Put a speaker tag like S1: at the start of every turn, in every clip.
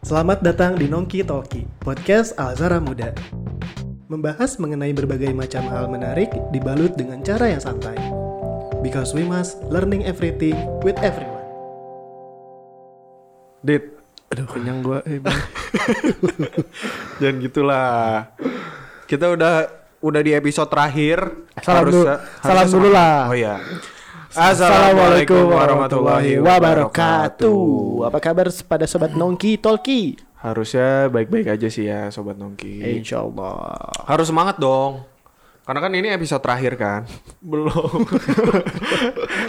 S1: Selamat datang di Nongki Talki, podcast Alzara Muda. Membahas mengenai berbagai macam hal menarik dibalut dengan cara yang santai. Because we must learning everything with everyone.
S2: Dit, aduh kenyang gua. Eh, Bang. Jangan gitulah. Kita udah udah di episode terakhir.
S3: Salam dulu-
S2: Harusnya-
S3: salam
S2: harusnya
S3: dulu lah.
S2: Oh iya.
S3: Assalamualaikum warahmatullahi wabarakatuh. Apa kabar pada sobat Nongki Tolki?
S2: Harusnya baik-baik aja sih ya sobat
S1: Iya.
S2: Nongki.
S3: Insya Allah.
S2: Harus semangat dong. Karena kan ini episode terakhir kan. Belum.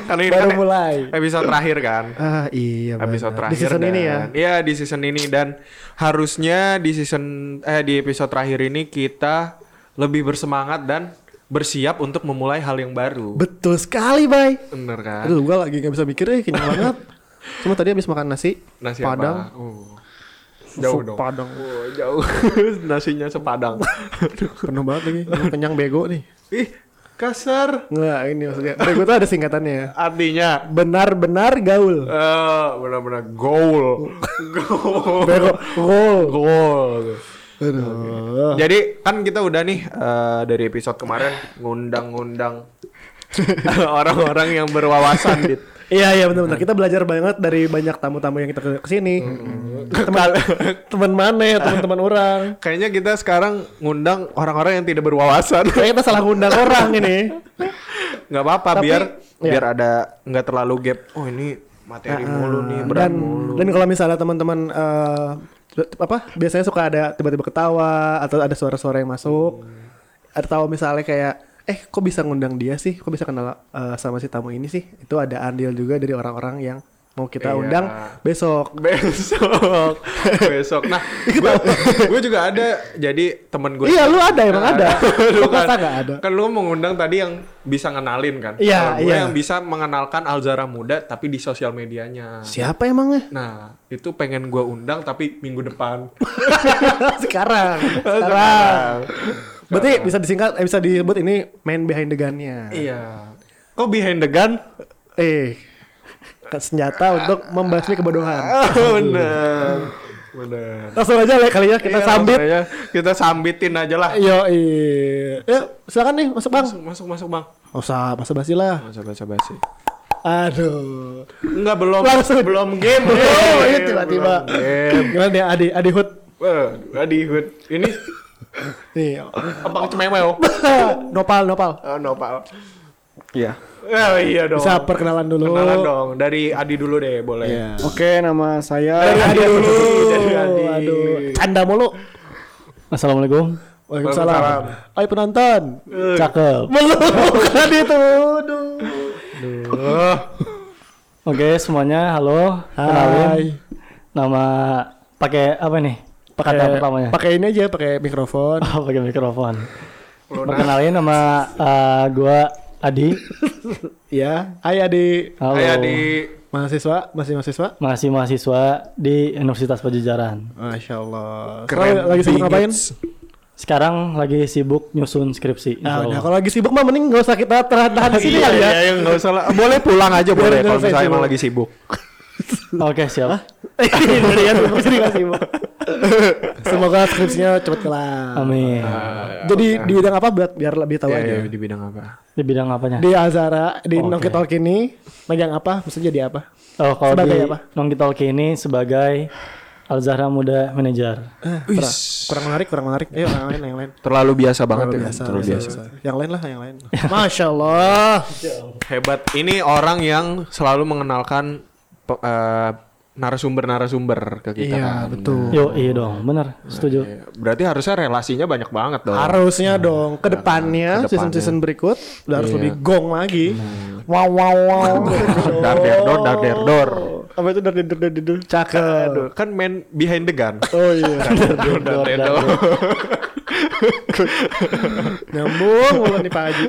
S2: Karena ini
S3: Baru
S2: kan
S3: mulai.
S2: Episode terakhir kan.
S1: Iya, Ah iya
S2: episode
S1: benar.
S2: terakhir
S3: Di season
S2: dan-
S3: ini ya?
S2: Iya, di season ini dan harusnya di season eh di episode terakhir ini kita lebih bersemangat dan bersiap untuk memulai hal yang baru.
S1: Betul sekali, Bay.
S2: Bener kan?
S1: Aduh, gua lagi nggak bisa mikir, eh, kenyang banget. Cuma tadi habis makan nasi,
S2: Nasi
S1: padang.
S2: apa? Oh. Jauh
S3: Sup
S2: dong.
S3: Padang.
S2: Oh, jauh. Nasinya sepadang. Aduh.
S1: Penuh banget lagi, Gua kenyang bego nih.
S2: Ih, kasar.
S1: Nggak, ini maksudnya. Bego tuh ada singkatannya ya.
S2: Artinya
S1: Benar-benar gaul.
S2: eh benar-benar goal. goal.
S1: Bego, gaul.
S2: Goal.
S1: Aduh.
S2: Jadi kan kita udah nih eh, dari episode kemarin ngundang-ngundang orang-orang yang berwawasan dit.
S1: Iya iya benar-benar kita belajar banget dari banyak tamu-tamu yang kita ke- kesini. Teman teman mana ya teman-teman orang.
S2: Kayaknya kita sekarang ngundang orang-orang yang tidak berwawasan.
S1: Kayaknya kita salah ngundang orang ini.
S2: nggak apa-apa
S1: Tapi,
S2: biar
S1: iya.
S2: biar ada nggak terlalu gap. Oh ini materi mulu nih
S1: Ah,
S2: berat
S1: Dan
S2: mulu.
S1: dan kalau misalnya teman-teman eh, t- apa biasanya suka ada tiba-tiba ketawa atau ada suara-suara yang masuk.
S2: Hmm.
S1: Atau misalnya kayak eh kok bisa ngundang dia sih? Kok bisa kenal eh, sama si tamu ini sih? Itu ada andil juga dari orang-orang yang mau kita
S2: Iya.
S1: undang besok.
S2: Besok, besok. Nah, gue juga ada. Jadi temen gue.
S1: Iya, lu ada, emang ada.
S2: lu
S1: Lu
S2: kan,
S1: masa nggak ada?
S2: Kan lu mengundang tadi yang bisa ngenalin kan.
S1: Iya,
S2: Kalau gue
S1: iya.
S2: yang bisa mengenalkan Alzara muda tapi di sosial medianya.
S1: Siapa emangnya?
S2: Nah, itu pengen gue undang tapi minggu depan.
S1: Sekarang. Sekarang.
S2: Sekarang.
S1: Berarti bisa disingkat, eh, bisa disebut ini main behind the gun-nya.
S2: Iya. Kok behind the gun?
S1: Eh, ke- senjata untuk membasmi kebodohan.
S2: Bener. Bener.
S1: Langsung aja lah kali ya kita
S2: Iya,
S1: sambit.
S2: langsung aja. Kita sambitin aja lah.
S1: Yo, Ya, silakan nih masuk bang.
S2: Masuk, masuk, masuk bang.
S1: Nggak usah, masa basi lah.
S2: Masuk, masuk, masuk.
S1: Aduh.
S2: Enggak belum
S1: Langsung.
S2: belum game.
S1: Oh,
S2: Belum
S1: iya tiba-tiba.
S2: game.
S1: Gimana nih ya, Adi, Adi Hood?
S2: Eh, Adi Hood. Ini
S1: Nih.
S2: abang cemewew.
S1: nopal, nopal.
S2: Oh, no, Pak.
S3: Iya.
S2: Eh, iya dong.
S1: Bisa perkenalan dulu.
S2: Kenalan dong. Dari Adi dulu deh, boleh.
S3: Oke, nama
S1: Dari
S3: saya
S1: Adi dulu.
S2: Dari Adi.
S1: Aduh, canda mulu.
S3: Assalamualaikum.
S1: Waalaikumsalam. Ayo penonton.
S3: Cakep.
S1: Meluk Adi tuh. Aduh.
S2: Eh,
S4: Oke semuanya, halo.
S1: Hai.
S4: Kenalin. Nama pakai apa nih? Pakai
S1: Pakai-
S4: apa pertamanya?
S1: Pakai ini aja, pakai mikrofon.
S4: Oh, pakai mikrofon.
S2: Luna.
S4: Perkenalin nama eh, gua Adi.
S1: Ya, hai Adi.
S4: Halo.
S2: Kayak di
S1: Mahasiswa, masih mahasiswa?
S4: Masih mahasiswa di Universitas Pajajaran.
S1: Masya Allah.
S2: Keren
S1: Kalau lagi sibuk
S2: bingits.
S1: ngapain?
S4: Sekarang lagi sibuk nyusun
S1: Nah,
S4: skripsi. insya
S1: udah
S4: Allah.
S1: kalau lagi sibuk mah mending nggak usah kita tahan-tahan di sini
S2: Iya,
S1: kali ya.
S2: iya, iya, nggak usah lah. Boleh pulang aja boleh
S1: Biar
S2: kalau
S1: nyelesain
S2: misalnya emang
S1: semua.
S2: lagi sibuk.
S4: Oke siap.
S1: Jadi kan sibuk sini nggak sibuk. Semoga skripsinya cepat kelar.
S4: Amin.
S1: Jadi di bidang apa buat biar lebih tahu aja.
S2: Nah, Iya, iya, di bidang apa?
S4: Di bidang apanya?
S1: Di Azara, di
S4: Oke.
S1: Nongki Talk ini megang apa? Maksudnya jadi apa?
S4: oh kalau
S1: sebagai
S4: di
S1: apa?
S4: Nongki Talki ini sebagai Al Zahra Muda Manager.
S1: Eh, kurang, kurang menarik, kurang menarik. Ayo yang lain, yang lain.
S2: Terlalu biasa banget ya. Terlalu biasa.
S1: Yang lain lah, yang lain.
S2: Ya.
S1: Masya Allah.
S2: Hebat. Ini orang yang selalu mengenalkan pe- eh, narasumber-narasumber ke kita.
S1: Iya,
S2: kan.
S1: betul.
S4: Yo iya dong, bener, setuju.
S2: Iya. Berarti harusnya relasinya banyak banget dong.
S1: Harusnya dong kedepannya
S2: Nah, kedepannya.
S1: season-season berikut udah harus
S2: Iya. Nah.
S1: lebih gong lagi. Wow wow wow.
S2: Oh. Dar der dor, dar der dor.
S3: Apa itu dari dari dari dari-
S1: Cakep.
S2: Aduh, kan main behind the gun.
S1: Oh iya.
S2: Dar der dor, dar der dor.
S1: Nyambung mulu nih Pak Haji.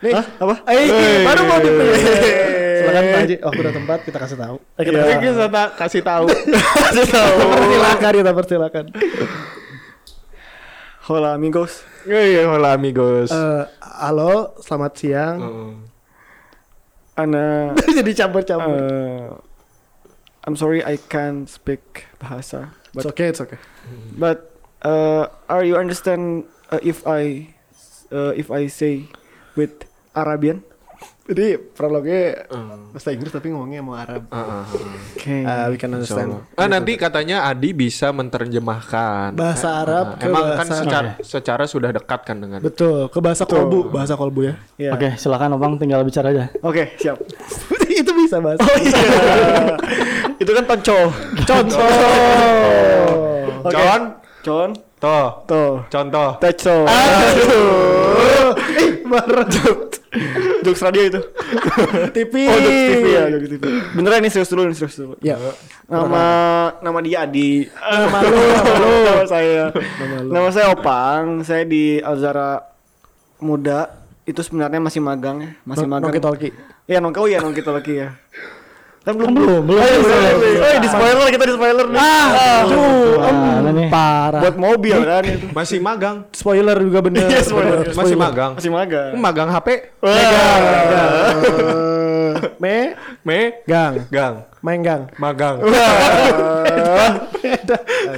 S1: Nih, apa? Eh,
S2: Eh.
S1: baru mau di
S3: Silakan,
S1: Silakan
S3: Pak
S1: Pak
S3: Haji.
S1: Haji, waktu udah tempat kita kasih tahu.
S4: Eh, kita-
S2: Ini kita ta- kasih tahu.
S1: Persilakan kita persilakan.
S3: Hola amigos.
S2: Iya, iya, hola amigos.
S1: Eh, halo, selamat siang.
S2: Mm, Heeh.
S3: Ana
S1: Eh, Jadi campur-campur.
S3: eh, I'm sorry I can't speak bahasa.
S1: It's
S3: But
S1: okay, it's okay.
S3: but uh, are you understand uh, if I uh, if I say with Arabian?
S1: Jadi prolognya
S2: Hmm.
S1: bahasa Inggris tapi ngomongnya mau Arab.
S2: Ah, ah, ah.
S3: Okay.
S1: Uh, we can
S2: Insya
S1: understand.
S2: Allah. Ah, nanti katanya Adi bisa menerjemahkan
S1: Bahasa
S2: Ah, ah,
S1: Arab
S2: ah.
S1: ke
S2: Emang kan
S1: bahasa-
S2: secara, secara sudah dekat kan dengan
S1: Betul, ke bahasa
S3: Betul.
S1: kolbu, bahasa kolbu ya.
S3: yeah.
S4: Oke, silakan Obang tinggal bicara aja.
S3: Oke, siap.
S1: itu bisa bahasa.
S3: Oh, iya. Itu kan tonco.
S1: Contoh.
S3: Oke.
S2: Con,
S3: Con,
S2: toh,
S3: to,
S2: contoh.
S3: teco.
S1: Aduh. Ih, marah.
S3: Jokes radio itu.
S1: Tipis.
S3: Oh, jokes TV ya, jokes TV. Beneran ini serius dulu, ini serius dulu.
S1: Ya.
S3: Nama nama dia Adi.
S1: Nama lu, Oh, iya, nama lu.
S3: Nama saya.
S1: Nama lu.
S3: Nama saya Opang. Saya di Alzara Muda. Itu sebenarnya masih magang ya, masih
S1: No-
S3: magang.
S1: Noki Tolki.
S3: Iya, nongki. Oh iya, nongki lagi ya. Kan belum
S4: belum, belum.
S3: Oh, iya, sorry, sorry. Oh, di spoiler kita di spoiler nih. Ah,
S4: Gimana Nah, nih?
S1: Parah.
S3: buat mobil kan itu.
S2: Masih magang.
S1: spoiler juga bener.
S3: Iya, spoiler.
S1: Bener,
S2: Masih magang.
S3: Masih magang.
S2: Magang HP.
S1: Eh, Me,
S2: Me,
S1: gang,
S2: gang,
S1: main gang.
S2: magang.
S3: Iya,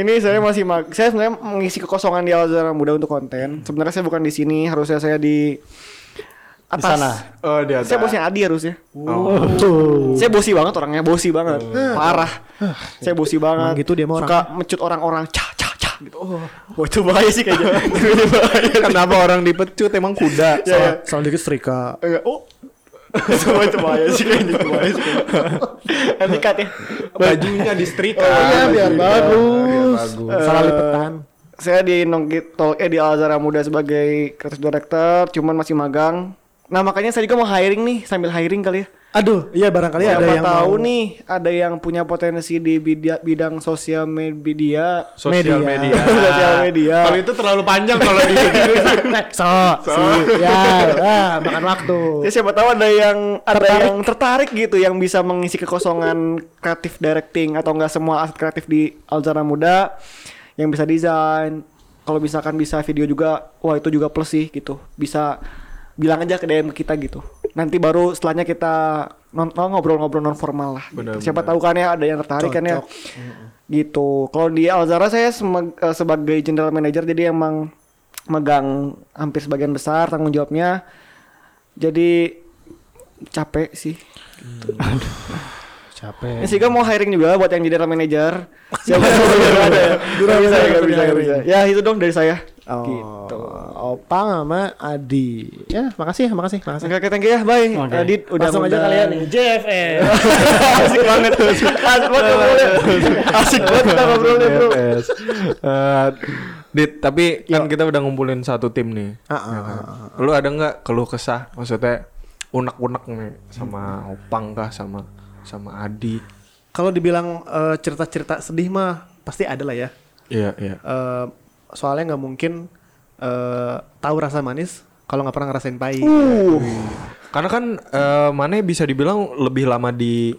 S3: Ini saya masih mag saya sebenarnya mengisi kekosongan di Alzara Muda untuk konten. Sebenarnya saya bukan di sini, harusnya saya di atas.
S4: sana.
S2: Oh, dia.
S3: Saya bosnya Adi harusnya.
S2: Oh.
S3: Saya bosi banget orangnya, bosi banget. Parah. Saya bosi banget.
S1: Emang gitu dia mah
S3: Suka mecut orang-orang cah cah cah gitu. Oh, Wah, itu bahaya sih kayaknya. Itu bahaya.
S2: Kenapa orang dipecut emang kuda?
S3: Ya, ya.
S1: Soal dikit setrika.
S3: Enggak. Oh. Itu itu bahaya sih kayaknya, itu bahaya sih. kayaknya. Nanti cut ya.
S2: Bajunya distrika.
S3: Oh, iya, biar
S2: bagus.
S1: Salah lipetan.
S3: Saya di Nongki Tol eh di Alzara Muda sebagai kreatif director, cuman masih magang. Nah, makanya saya juga mau hiring nih, sambil hiring kali ya.
S1: Aduh, iya barangkali ada
S3: Siapa
S1: yang
S3: tahu
S1: mau-
S3: nih ada yang punya potensi di bidang, bidang sosial media
S2: Sosial
S1: Media.
S2: media.
S3: Sosial media.
S2: Kalau itu terlalu panjang kalau di
S1: Eh, So, si- ya, ah, makan waktu.
S3: Ya siapa tahu ada yang ada yang tertarik gitu yang bisa mengisi kekosongan kreatif directing atau enggak semua aset kreatif di Alzara Muda yang bisa desain. Kalau misalkan bisa video juga, wah itu juga plus sih gitu. Bisa bilang aja ke DM kita gitu. Nanti baru setelahnya kita non- non- ngobrol-ngobrol non formal lah. gitu.
S2: Benar,
S3: Siapa
S2: benar.
S3: tahu kan ya ada yang tertarik kan ya. Gitu. Kalau di Alzara saya semeg- eh, sebagai general manager jadi emang megang hampir sebagian besar tanggung jawabnya jadi capek sih.
S1: Capek.
S3: Ya, sih mau hiring juga buat yang jadi general manager. Siapa tahu nggak ada ya? Nggak bisa, nggak bisa, nggak bisa. Ya itu dong dari saya.
S1: Oh,
S3: Gitu.
S1: Opang sama Adi. Ya, makasih, makasih, makasih.
S3: Oke, oke, thank you ya. Bye.
S4: Oke.
S3: Adit udah
S1: Langsung aja
S3: ngundang.
S1: kalian ya. nih.
S4: JFN.
S3: Asik banget. Asik banget ngobrolnya. Asik banget kita ngobrolnya, Bro.
S2: Eh, Dit, tapi kan kita udah ngumpulin satu tim nih. Ya kan?
S1: Ah, ah, ah,
S2: Lu ada nggak keluh kesah? Maksudnya unek-unek nih sama Opang kah sama sama Adi?
S1: Kalau dibilang eh, cerita-cerita sedih mah pasti ada lah ya.
S2: Iya, iya.
S1: Eh, soalnya nggak mungkin eh, tahu rasa manis kalau nggak pernah ngerasain pahit.
S2: Karena kan eh, Mane bisa dibilang lebih lama di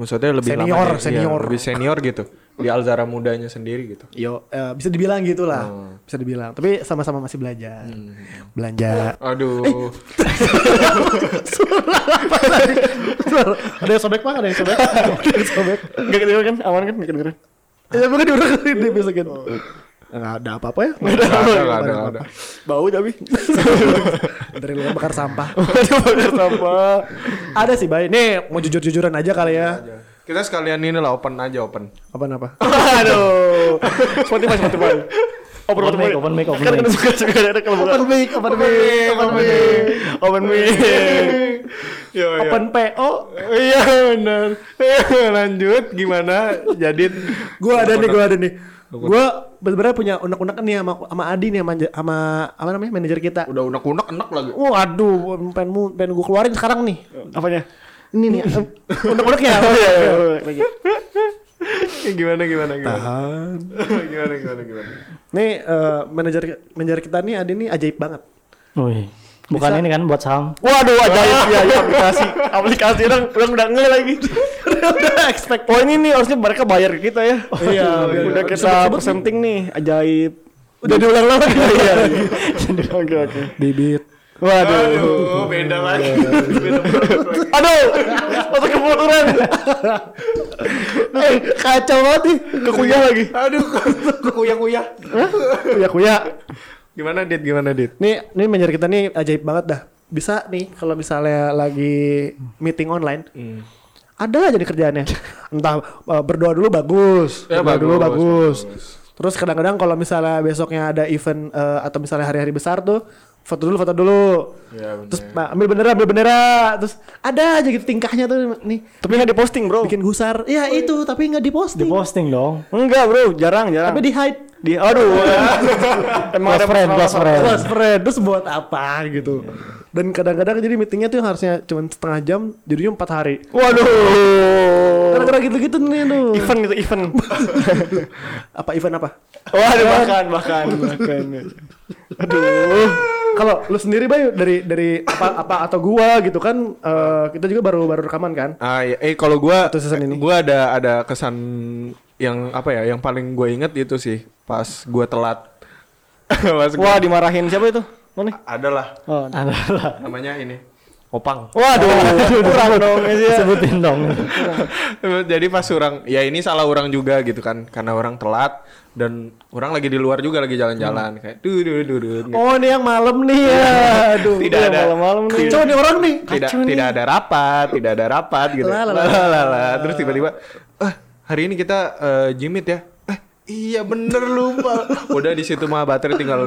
S2: maksudnya lebih
S1: Senior,
S2: lama di- iya,
S1: senior.
S2: lebih senior gitu di Alzara mudanya sendiri gitu.
S1: Yo, eh, bisa dibilang gitulah, bisa dibilang. Tapi sama-sama masih belajar, belanja.
S2: Aduh.
S1: ada yang sobek pak, ada yang sobek, ada yang sobek.
S3: Enggak kedengeran kan? Aman kan? Enggak kedengeran.
S1: Ya bukan diurusin dibesokin. Oh. Nggak ada apa-apa ya? Nggak
S2: Nggak ada, nggak
S1: Nggak
S2: ada,
S1: ada
S2: nggak ada.
S3: Bau tapi.
S1: Dari luar bakar sampah.
S3: Waduh, bener sampah.
S1: ada sih baik. Nih mau jujur-jujuran aja kali ya.
S2: Kita sekalian ini lah open aja open.
S1: Apa-apa?
S3: Aduh. Spotify, Spotify. Open,
S4: Open mic, open mic, open
S3: Kan
S4: mic.
S3: suka suka ada kalau bukan.
S1: mic, open mic, open mic.
S3: Open mic.
S2: Yo, yo.
S1: Open PO.
S2: Iya benar. Lanjut gimana? Jadi
S1: Gue ada nih, gue ada nih. Gue sebenarnya punya unek-unek nih sama sama Adi nih sama sama apa namanya manajer kita.
S2: udah unek-unek enak lagi.
S1: Oh, aduh, pengen mu- pengen gue keluarin sekarang nih.
S3: Apanya?
S1: Ini nih, eh, unek-uneknya.
S3: Oh iya, iya, iya, lagi.
S2: gimana gimana gimana.
S1: Tahan.
S2: gimana gimana gimana.
S1: Nih eh, manajer manajer kita nih Adi nih ajaib banget.
S4: Wih. Bukan ini kan buat saham.
S3: Waduh, ajaib ya, ya, aplikasi. Aplikasi orang orang udah ngeh lagi.
S1: Udah expect.
S3: Oh ini nih harusnya mereka bayar ke kita ya.
S1: iya,
S3: Udah,
S1: biar-
S3: udah kita
S1: sebut-sebut
S3: presenting nih, ajaib.
S1: Udah diulang lagi.
S3: Iya. Oke oke.
S1: Bibit.
S3: Waduh.
S2: Aduh, beda lagi. Beda banget lagi.
S3: Aduh, masuk kemunduran. eh, kacau banget nih. Kekuyah lagi.
S2: Aduh, kuyang-kuyang.
S1: kuya kuya.
S2: Gimana Dit? Gimana Dit?
S1: Nih, nih manajer kita nih ajaib banget dah. Bisa nih kalau misalnya lagi meeting online,
S2: Hmm.
S1: ada aja nih kerjaannya. Entah eh, berdoa dulu bagus,
S2: Ya,
S1: berdoa dulu bagus.
S2: bagus,
S1: Terus kadang-kadang kalau misalnya besoknya ada event eh, atau misalnya hari-hari besar tuh, foto dulu, foto dulu.
S2: Ya, bener.
S1: Terus
S3: Iya.
S1: "Ma, ambil bendera, ambil bendera. Terus ada aja gitu tingkahnya tuh nih.
S3: Tapi nggak diposting bro. Oh, iya.
S1: Bikin gusar. Ya itu, tapi nggak diposting.
S4: Diposting dong.
S3: Enggak bro, jarang jarang.
S1: Tapi di hide.
S3: di aduh. Emang
S4: Close
S3: ada
S4: friend,
S3: masalah-
S4: close friend.
S1: Terus friend, terus buat apa gitu. Nah. Dan kadang-kadang jadi meetingnya tuh yang harusnya cuma setengah jam, jadinya empat hari.
S3: Waduh.
S1: Gara-gara gitu-gitu nih tuh.
S3: Event gitu event.
S1: Apa event apa?
S3: Waduh bahkan bahkan bahkan. Aduh.
S1: Eh, Kalau lu sendiri Bayu dari dari apa apa atau gua gitu kan eh, kita juga baru baru rekaman kan.
S2: Ah, ya, eh kalau gua
S1: Satu season ini.
S2: gua ada ada kesan yang apa ya, yang paling gue inget itu sih pas gua telat. pas
S3: Wah
S2: gua
S3: dimarahin siapa itu? Mana?
S2: adalah
S3: Oh.
S4: Adalah.
S2: namanya ini. Opang.
S3: Waduh,
S1: Oh,
S3: kurang dong
S4: Iya.
S3: ya.
S4: Sebutin dong.
S2: Jadi pas orang ya ini salah orang juga gitu kan karena orang telat dan orang lagi di luar juga lagi jalan-jalan
S1: Hmm.
S2: kayak du du du du.
S1: Oh ini yang malam nih ya. Aduh.
S2: tidak ada
S3: malam-malam nih.
S1: Kacau nih orang nih.
S2: tidak tidak ada rapat, tidak ada rapat gitu. Lalalala. Terus tiba-tiba eh hari ini kita eh, jimit ya. Eh iya bener lupa. Udah di situ mah baterai tinggal 5%.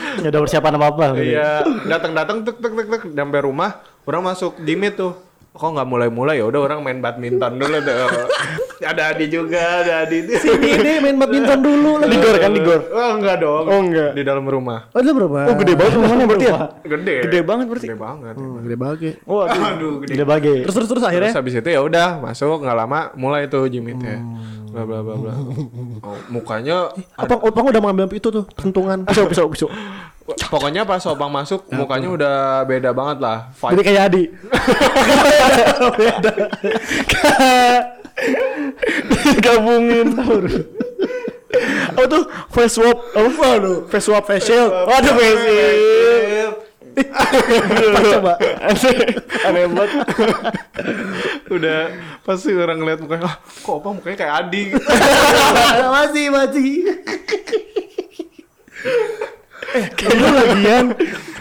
S4: Nggak ada Ya persiapan apa-apa. gitu.
S2: Iya, datang-datang tek tek tek tek sampai rumah, orang masuk jimit tuh. Kok nggak mulai-mulai ya? Udah orang main badminton dulu tuh. ada Adi juga, ada Adi.
S1: Ini ini main badminton dulu lagi.
S3: Digor kan digor.
S2: Oh enggak dong.
S3: Oh, enggak.
S2: Di dalam rumah.
S1: Oh, itu berapa?
S3: Oh gede banget rumahnya berarti ya.
S2: Gede.
S3: Gede banget berarti.
S2: Gede banget.
S1: Oh, gede banget. ya.
S3: Waduh.
S2: Aduh, gede
S4: Udah bagi.
S1: Terus terus terus akhirnya
S2: Terus habis itu ya udah masuk nggak lama mulai tuh jimitnya. Bla bla bla bla. Oh, mukanya
S1: Opang, Opang udah mengambil itu tuh sentungan.
S3: Pisau pisau pisau.
S2: pokoknya pas Opang masuk mukanya udah beda banget lah.
S1: Jadi
S2: Vibe
S1: kayak Adi.
S3: Gabungin. Apa tuh face swap? Apa? Waduh. Face swap face shield. Waduh face shield.
S1: Pas coba.
S3: Aneh banget.
S2: udah pasti orang ngeliat mukanya ah kok Opang mukanya kayak Adi gitu.
S1: masih masih. eh, lu lagian,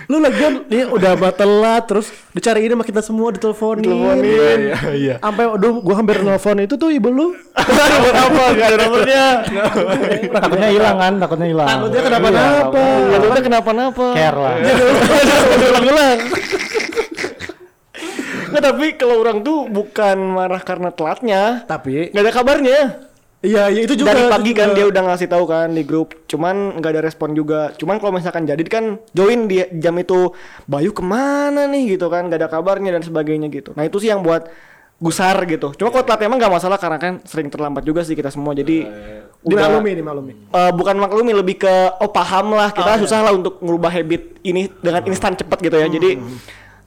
S1: lu lagian nih udah abah telat terus dicariin sama kita semua diteleponin.
S2: Iya iya iya.
S1: Sampai aduh gua hampir nelpon itu tuh ibu lu.
S3: Buat apa? Gak ada nomornya.
S4: Takutnya hilang kan? Takutnya hilang.
S1: Takutnya
S4: Iya,
S1: kenapa-napa. Iya,
S3: Takutnya kenapa-napa.
S4: Care lah.
S3: ulang-ulang. Nggak, tapi kalau orang tuh bukan marah karena telatnya,
S1: Tapi
S3: nggak ada kabarnya.
S1: iya iya itu juga
S3: Dari
S1: itu
S3: pagi
S1: juga.
S3: kan dia udah ngasih tahu kan di grup, cuman nggak ada respon juga. Cuman kalau misalkan jadi kan join di jam itu, Bayu kemana nih gitu kan, nggak ada kabarnya dan sebagainya gitu. Nah itu sih yang buat gusar gitu. Cuma kalau telat emang nggak masalah karena kan sering terlambat juga sih kita semua. Jadi udah-
S1: dimaklumi dimaklumi.
S3: Eh, bukan maklumi lebih ke oh paham lah kita susah lah untuk ngubah habit ini dengan instan cepat gitu ya jadi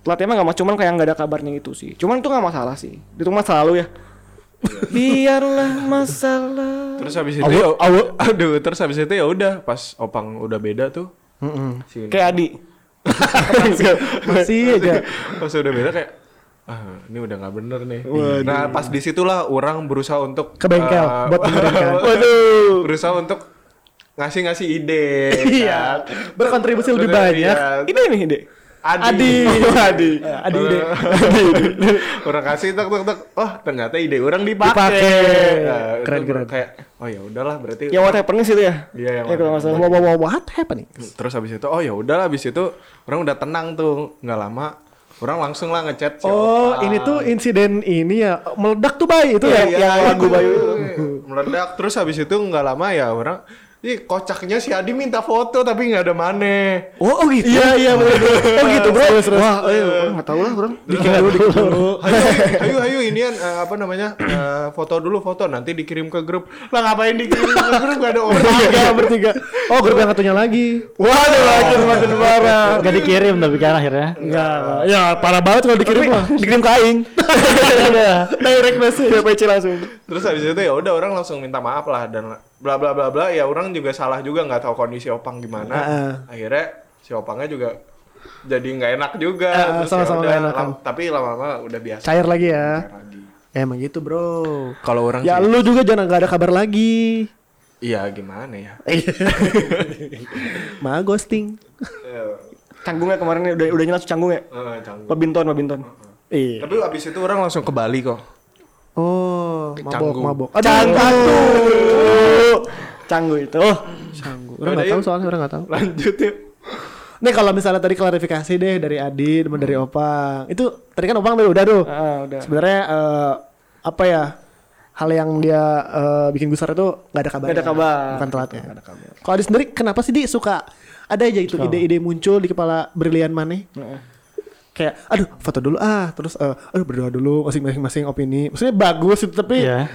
S3: telatnya mah nggak mas cuman kayak nggak ada kabarnya gitu sih cuman itu nggak masalah sih itu mah selalu ya biarlah masalah
S2: Terus habis itu ya, aduh terus habis itu ya udah pas Opang udah beda tuh. Si
S3: kayak Adi
S1: Masih aja.
S2: pas udah beda kayak ah ini udah nggak bener nih nah pas disitulah orang berusaha untuk
S1: Ke bengkel,
S2: eh,
S1: buat benerin kan.
S2: waduh berusaha untuk ngasih ngasih ide kan.
S1: Iya, berkontribusi lebih
S2: Bener,
S1: banyak.
S2: iya.
S3: ini nih ide Eh,
S2: Adi
S3: Adi
S1: Adi deh.
S2: orang kasih tek tek tek oh ternyata ide orang dipakai,
S1: Dipakai.
S2: Nah, itu
S1: Keren, keren.
S2: kayak oh ya udahlah berarti
S3: yang what happens itu ya
S2: Iya, yang
S3: ya, kalau nggak salah
S1: Wow, wow, wow, what happening?
S2: terus habis itu oh ya udahlah habis itu orang udah tenang tuh nggak lama orang langsung lah ngechat si
S1: Oh,
S2: Opang.
S1: ini tuh insiden ini ya meledak tuh bay itu ya.
S3: Ah. Iya, yang lagu Bayu itu.
S2: meledak terus habis itu nggak lama ya orang Ih, kocaknya si Adi minta foto tapi nggak ada mana.
S1: Oh, oh gitu. Iya iya Oh gitu bro. Wah,
S3: ayo orang nggak tahu lah orang
S1: bikin dulu bikin dulu.
S2: Ayo, ayo, ayo inian eh, apa namanya eh, foto dulu foto nanti dikirim ke grup. Lah ngapain dikirim ke grup gak ada orang.
S1: Bertiga bertiga. Oh grup yang satunya lagi.
S3: waduh makin makin parah
S4: Gak dikirim tapi kan akhirnya.
S1: Enggak. Ya
S4: iya,
S1: parah banget kalau dikirim mah.
S3: dikirim ke Aing direct message PPC langsung
S2: Terus habis itu ya udah orang langsung minta maaf lah dan bla bla bla bla ya orang juga salah juga nggak tahu kondisi opang gimana.
S1: Heeh.
S2: Akhirnya si opangnya juga jadi nggak enak juga
S1: Eh,
S2: Terus ya
S1: sama-sama
S2: udah,
S1: nggak enak.
S2: lam- tapi lama-lama udah biasa
S1: Cair lagi ya.
S2: Cair lagi.
S1: Ya, emang gitu bro.
S2: kalau orang
S1: Ya
S2: sih-
S1: lu juga jangan gak ada kabar lagi.
S2: iya gimana ya
S1: Ma ghosting.
S2: Eh,
S3: Canggungnya kemarin udah udah langsung canggungnya.
S2: eh, canggung.
S3: Pebinton, pebinton.
S1: Iya.
S2: tapi abis itu orang langsung ke Bali kok
S1: Oh, mabok
S2: Canggung.
S1: mabok.
S3: Canggung. Canggung itu. Oh,
S1: Canggung. Orang
S2: Yaudah,
S1: nggak tahu
S2: yuk.
S1: soalnya orang nggak tahu.
S2: lanjut yuk
S1: Nih kalau misalnya tadi klarifikasi deh dari Adi sama dari Opang. Itu tadi kan Opang udah udah tuh.
S3: Ah, udah.
S1: Sebenarnya eh, apa ya? Hal yang dia eh, bikin gusar itu nggak ada kabar.
S3: Nggak ada kabar.
S1: Bukan telatnya. Kalau Adi sendiri kenapa sih di suka ada aja itu ide-ide muncul di kepala brilian maneh? Kayak aduh foto dulu ah terus eh, aduh berdoa dulu masing-masing opini. Maksudnya bagus itu tapi
S4: Iya.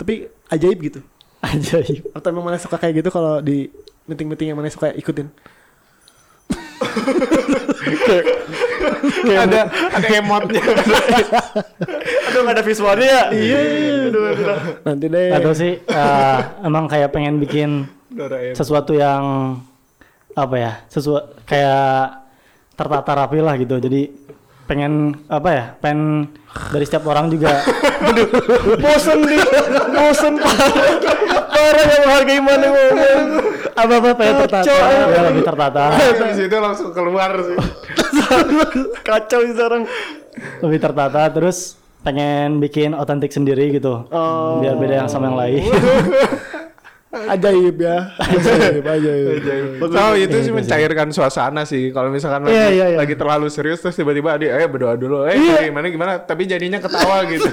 S1: tapi ajaib gitu.
S4: Ajaib.
S1: Atau emang mana suka kayak gitu kalau di meeting-meeting yang mana suka ikutin?
S2: ada ada emotnya
S3: Aduh nggak ada visualnya ya. Iya.
S1: Nanti deh.
S4: Atau sih eh, emang kayak pengen bikin
S2: Doraemon
S4: sesuatu yang apa ya? Sesuatu kayak tertata rapi lah gitu. Jadi pengen apa ya? Pengen dari setiap orang juga
S3: Bosen nih. Bosen parah. Parah yang harga mana ngomong.
S4: apa-apa pengen tertata,
S3: Kacau.
S4: ya, lebih tertata,
S2: Abis itu langsung keluar sih
S3: Kacau ini sekarang.
S4: lebih tertata terus pengen bikin otentik sendiri gitu.
S1: Oh.
S4: Biar beda yang sama yang lain.
S1: ajaib ya ajaib ajaib
S2: Tahu itu sih mencairkan suasana sih. Kalau misalkan lagi,
S1: Iya, iya, iya.
S2: lagi terlalu serius terus tiba-tiba adik eh berdoa dulu. Eh gimana gimana tapi jadinya ketawa gitu.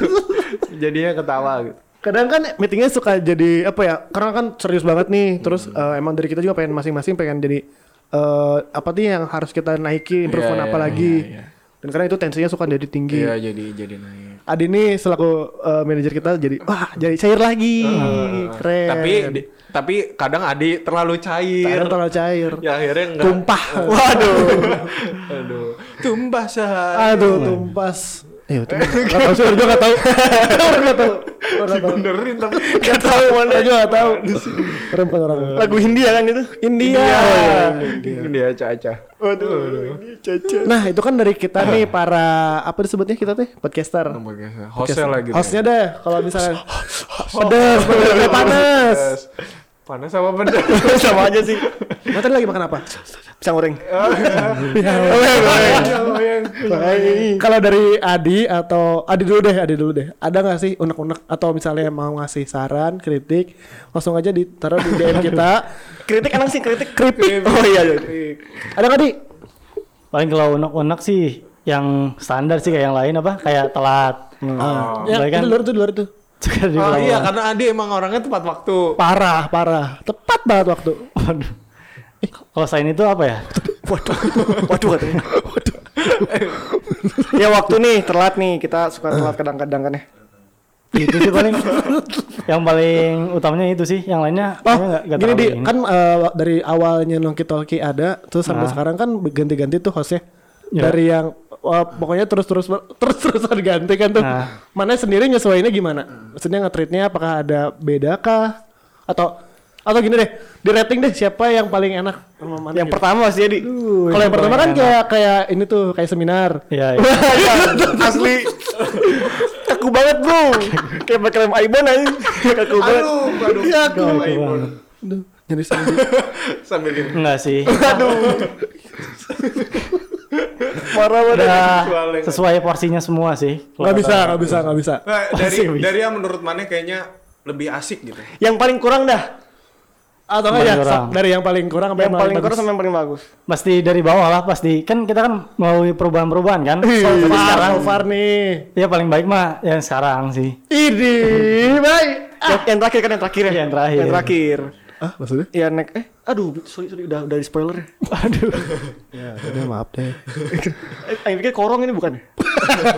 S2: jadinya ketawa gitu.
S1: kadang kan meetingnya suka jadi apa ya karena kan serius banget nih terus eh, emang dari kita juga pengen masing-masing pengen jadi eh, apa sih yang harus kita naiki improvement
S2: Iya,
S1: apa
S2: iya,
S1: lagi
S2: iya, iya.
S1: dan karena itu tensinya suka jadi tinggi
S2: Iya jadi jadi naik.
S1: Adi ini selaku eh, manajer kita jadi wah jadi cair lagi keren
S2: Tapi di- tapi kadang adik terlalu cair.
S1: kadang terlalu cair
S2: Ya akhirnya enggak.
S1: tumpah
S2: Waduh. Aduh. ya. Tumpah sehari.
S1: aduh tumpas Ayo, tumpah. Eh, Gak tau sih, orang juga gak tau. Orang gak tau. Orang gak tau.
S2: Benerin tapi
S1: Gak tau mana. Gue gak tau. Orang bukan orang.
S3: Lagu Hindia kan itu.
S1: India.
S2: Iya,
S1: iya,
S2: dia caca.
S3: Waduh. ini Caca.
S1: Nah itu kan dari kita nih para apa disebutnya kita teh podcaster.
S2: Hostnya lagi.
S1: Hostnya deh kalau misalnya pedes, pedes, pedes, panas.
S2: Panas sama bener.
S3: Sama aja sih.
S1: Nah, tadi lagi makan apa?
S3: Pisang goreng.
S1: Iya, Kalau dari Adi atau Adi dulu deh, Adi dulu deh. Ada nggak sih unek-unek atau misalnya mau ngasih saran, kritik, langsung aja ditaruh di DM kita.
S3: Kritik enak sih kritik.
S1: Kritik.
S3: Oh iya. iya.
S1: Ada nggak Di?
S4: Paling kalau unek-unek sih yang standar sih kayak yang lain apa? Kayak telat.
S1: Ah, ya, ah,
S4: Baik kan?
S1: itu di luar tuh, di luar tuh.
S4: Suka
S2: Oh
S4: diulang-ulang.
S2: iya karena Adi emang orangnya tepat waktu.
S1: Parah, parah. Tepat banget waktu.
S4: Waduh. Eh, Kalau saya itu apa ya?
S3: Waduh katanya. ya waktu nih telat nih kita suka telat kadang-kadang kan ya.
S4: itu Gitu sih paling yang paling utamanya itu sih yang lainnya
S1: Oh,
S4: kayaknya nggak- nggak
S1: gini
S4: terlalu
S1: di
S4: ini.
S1: kan eh, dari awalnya Nongki Tolki ada, terus sampai
S3: Ah.
S4: Nah.
S1: sekarang kan ganti-ganti tuh hostnya.
S4: Ya.
S1: Dari yang wah, pokoknya terus-terus terus-terusan ganti kan tuh.
S3: Ah.
S4: Nah.
S1: Mana sendiri nyesuaiinnya gimana? Maksudnya nge-treatnya apakah ada beda kah? Atau atau gini deh, di rating deh siapa yang paling enak sama mana
S3: Yang
S1: gitu.
S3: pertama sih jadi.
S1: Kalau yang
S4: yang
S1: pertama
S4: paling
S1: kan
S4: enak.
S1: kayak kayak ini tuh kayak seminar.
S4: Iya, iya.
S3: Asli. Kaku banget bro. Kayak pakai lem Aibon aja. Kaku banget.
S2: aduh.
S1: Iya, aku.
S2: Sama
S4: Itu
S2: Ibu.
S4: bang.
S1: Aduh, jadi sendiri.
S2: Sambil ini.
S4: Enggak sih.
S3: Parah
S1: Ah,
S3: banget.
S4: Udah
S2: Kecuali-
S4: Ah, sesuai porsinya semua sih.
S1: Gak bisa, gak bisa, gak bisa.
S2: Nah, dari
S1: Masih bisa.
S2: dari yang menurut Mane kayaknya lebih asik gitu.
S3: Yang paling kurang dah.
S1: atau nggak ya
S4: Paling kurang.
S1: dari yang paling kurang sampai
S3: Yang paling kurang
S1: bagus.
S3: sama yang paling bagus.
S4: Pasti dari bawah lah pasti. Kan kita kan melalui perubahan-perubahan kan.
S1: so
S4: Jadi
S1: far,
S4: sekarang
S1: so far nih.
S4: ya paling baik mah yang sekarang sih.
S1: Ini baik.
S3: Yang, yang terakhir kan yang terakhir ya.
S4: Iya, yang terakhir.
S3: Yang terakhir.
S1: Ah, maksudnya?
S3: Ya nek eh aduh sorry sorry udah udah di spoiler ya.
S4: Aduh.
S1: Ya, udah maaf deh.
S3: Eh, Yang pikir korong ini bukan ya?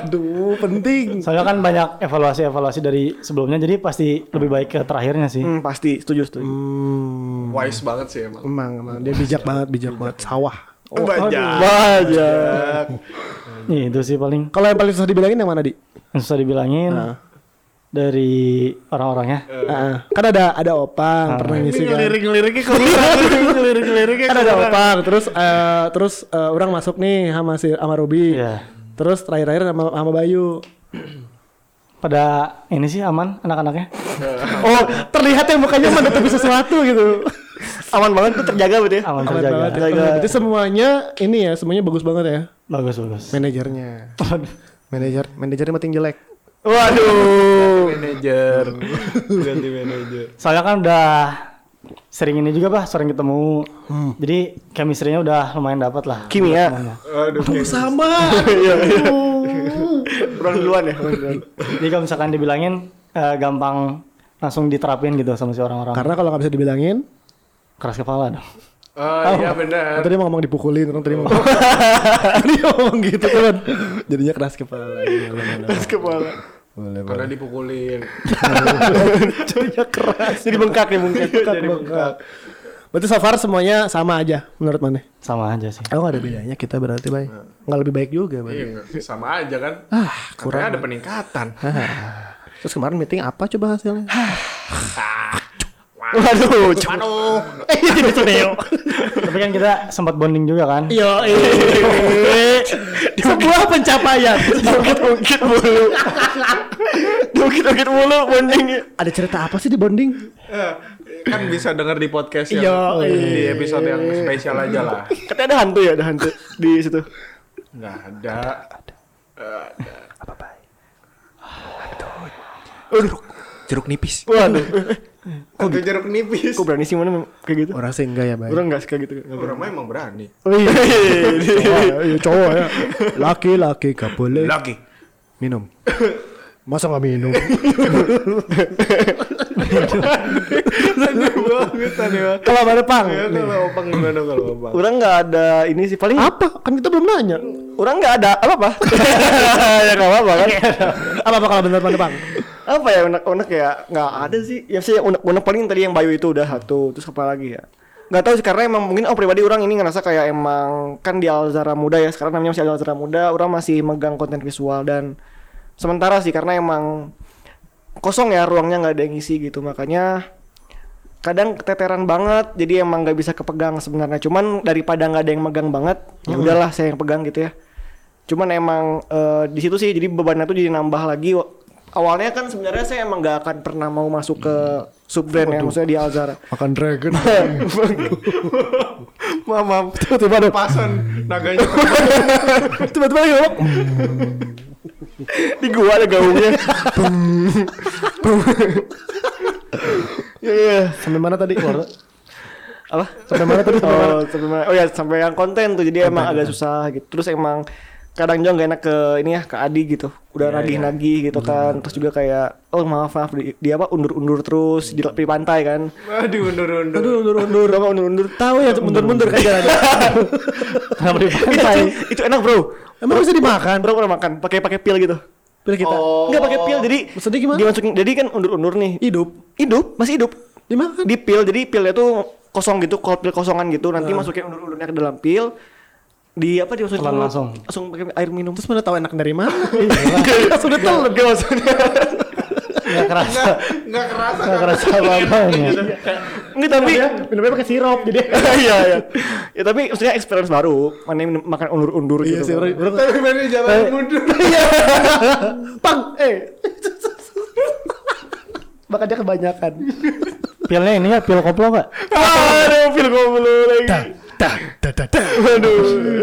S1: Aduh, penting.
S4: Soalnya kan banyak evaluasi-evaluasi dari sebelumnya jadi pasti lebih baik ke terakhirnya sih.
S3: Hmm, pasti setuju setuju.
S1: Hmm,
S2: Wise banget sih emang.
S1: emang emang dia bijak banget, bijak banget. Sawah.
S2: Banyak.
S3: Banyak.
S4: Nih, itu sih paling
S1: Hmm. Kalau yang paling susah dibilangin yang mana di? Nah.
S4: yang susah dibilangin. dari orang-orangnya.
S3: Heeh.
S1: kan ada ada opang pernah ngisi kan
S3: ngelirik-ngeliriknya keluar ngelirik-ngeliriknya
S1: kan ada opang terus eh, terus eh, orang masuk nih sama si sama Ruby
S4: Iya.
S1: terus terakhir-terakhir sama sama Bayu
S4: Pada ini sih aman anak-anaknya.
S3: Eh.
S1: oh terlihat ya mukanya menutupi sesuatu gitu
S3: aman banget tuh terjaga berarti ya
S4: Aman
S1: Aman
S4: terjaga.
S1: banget ya. Berarti semuanya ini ya semuanya bagus banget ya
S4: Bagus bagus.
S1: manajernya manajer manajernya mating jelek
S3: waduh
S2: manajer ganti manajer
S4: Soalnya kan udah sering ini juga bah, sering ketemu.
S1: Hmm.
S4: Jadi chemistry-nya udah lumayan dapat lah.
S3: kimia
S2: aduh kayak
S1: sama
S3: iya iya Orang duluan ya orang duluan.
S4: Jadi kalau misalkan dibilangin eh, gampang langsung diterapin gitu sama si orang-orang.
S1: karena kalau nggak bisa dibilangin
S4: Keras kepala dong.
S2: oh iya benar
S1: tadi mau ngomong dipukulin orang tadi mau ngomong tadi mau ngomong gitu kan jadinya keras kepala Iya, Boleh, boleh,
S3: Terus kepala
S1: Iya, boleh boleh
S2: karena dipukulin
S3: Jadinya keras Jadi bengkak ya bengkak
S1: Iya, Jadi bengkak. berarti so far semuanya sama aja menurut Nah. mana
S4: Sama aja sih.
S1: aku Oh, nggak ada bedanya kita berarti baik nggak lebih baik juga berarti
S2: Iya, sama aja kan
S1: ah
S2: kurang ada peningkatan
S1: terus kemarin meeting apa coba hasilnya
S3: Waduh cuma
S2: aduh
S1: eh jadi Suneo
S4: Tapi kan kita sempat bonding juga kan.
S1: yo eh sebuah pencapaian
S3: Diungkit-ungkit mulu Diungkit-ungkit mulu Bonding
S1: ada cerita apa sih di bonding
S2: Eh, kan bisa denger di podcast yang
S1: Iya,
S2: di episode yang spesial aja lah
S3: Katanya ada hantu ya Ada hantu Di situ
S2: nggak ada Eh, ada. jeruk nipis
S3: Waduh
S2: Satu jeruk nipis
S3: Kok berani sih mana emang kayak gitu
S1: orang sih enggak ya baik
S3: Orang gak suka gitu nggak
S2: orang mah emang berani
S3: Oh, iya.
S1: cowok ya, cowok ya. Laki-laki gak boleh
S2: lagi
S1: minum. Masa gak minum?
S2: aneh banget aneh banget
S1: Kalau ada pang.
S2: Ya, kalau opang gimana kalau opang
S3: Orang gak ada ini sih Paling
S1: Apa? Kan kita belum nanya.
S3: Orang gak ada apa-apa Ya gak apa-apa kan
S1: Apa apa kalau bener pada pang?
S3: Apa ya unek-unek ya Gak ada sih Ya sih unek-unek paling tadi yang Bayu itu udah satu Terus apa lagi ya Gak tahu sih karena emang mungkin oh pribadi orang ini ngerasa kayak emang kan di Alzara muda ya sekarang namanya masih Alzara muda orang masih megang konten visual dan sementara sih karena emang kosong ya ruangnya nggak ada yang isi gitu makanya kadang keteteran banget jadi emang nggak bisa kepegang sebenarnya cuman daripada nggak ada yang megang banget ya udahlah saya yang pegang gitu ya cuman emang eh, di situ sih jadi bebannya tuh jadi nambah lagi Wa- awalnya kan sebenarnya saya emang nggak akan pernah mau masuk ke subbrand ya maksudnya di Alzara
S1: Makan dragon.
S3: Mama
S1: Tiba-tiba ada
S2: pasan naganya
S1: tiba-tiba lagi ngomong.
S3: di gua ada gaungnya
S1: Iya iya. Sampai mana tadi?
S3: apa
S1: Sampai mana tadi? Sampai mana? ya.
S3: oh, sampai mana? oh ya sampai yang konten tuh jadi emang agak susah gitu terus emang kadang juga gak enak ke ini ya ke Adi gitu udah
S1: Iya,
S3: nagih-nagih gitu kan terus juga kayak oh maaf maaf di, di apa undur-undur terus di, di pantai kan
S2: aduh undur undur
S3: aduh undur-undur apa undur-undur
S1: Tahu ya mundur-mundur kan jalannya.
S4: Kenapa di
S3: itu,
S4: pantai?
S3: itu enak bro
S1: Emang bisa dimakan?
S3: bro pernah makan pakai pakai pil gitu
S1: Pilih kita.
S3: nggak pakai pil jadi
S1: Maksudnya gimana?
S3: dimasukin jadi kan undur-undur nih
S1: Hidup.
S3: hidup masih hidup
S1: Dimakan.
S3: di pil jadi pilnya tuh kosong gitu kalau pil kosongan gitu nanti
S1: Nah.
S3: masukin undur-undurnya ke dalam pil di apa dimasukin
S4: Telan
S3: dulu,
S4: langsung.
S3: langsung pakai air minum Iya,
S1: Terus mana tahu enak dari mana? iya. Sudah telan dia maksudnya.
S4: Nggak kerasa.
S2: nggak kerasa
S4: Nggak
S2: kan?
S4: kerasa apa-apa ini.
S3: Iya. enggak tapi
S1: Iya, Minumnya pakai sirup jadi.
S3: iya iya ya tapi maksudnya experience baru mana yang minum- makan undur-undur
S1: Iya
S3: gitu
S1: sih, orang- orang
S2: tapi mana jalan mundur
S1: Pang, eh. Makanya kebanyakan.
S4: Pilnya ini ya pil koplo nggak?
S3: aduh pil gue belum lagi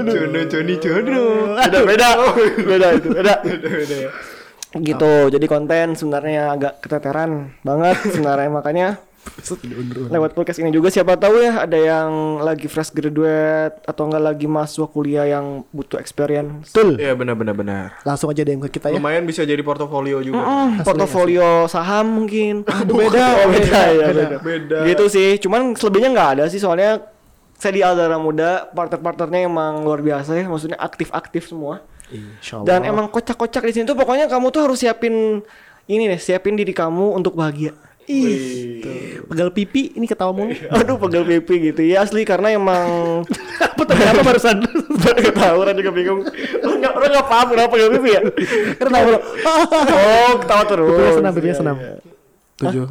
S2: jono joni jono
S3: beda beda beda itu Oh. beda ya. gitu jadi konten sebenarnya agak keteteran banget sebenarnya makanya lewat podcast ini juga siapa tahu ya ada yang lagi fresh graduate atau enggak lagi mahasiswa kuliah yang butuh experience
S1: Betul.
S2: Iya benar benar benar.
S1: Langsung aja DM ke kita ya.
S2: Lumayan bisa jadi portofolio juga.
S3: Mm, portofolio saham mungkin
S1: beda,
S3: oh, beda,
S1: beda,
S3: ya
S1: beda.
S3: beda.
S2: Beda.
S3: gitu sih cuman selebihnya nggak ada sih soalnya saya di Aldara Muda partner-partnernya emang luar biasa ya maksudnya aktif-aktif semua
S1: Insya
S3: dan emang kocak-kocak di sini tuh pokoknya kamu tuh harus siapin ini nih siapin diri kamu untuk bahagia
S1: Ih, gitu. pegal pipi ini ketawa mulu.
S3: Aduh pegel pipi gitu ya asli karena emang
S1: Apa tadi apa barusan?
S3: ketahuan juga bingung. Lo nggak lo nggak paham kenapa pegel pipi ya?
S1: Ketawa mulu.
S3: Oh ketawa terus.
S1: Pipinya senam, pipinya
S3: Iya,
S1: senam.
S3: iya.
S1: Tujuh.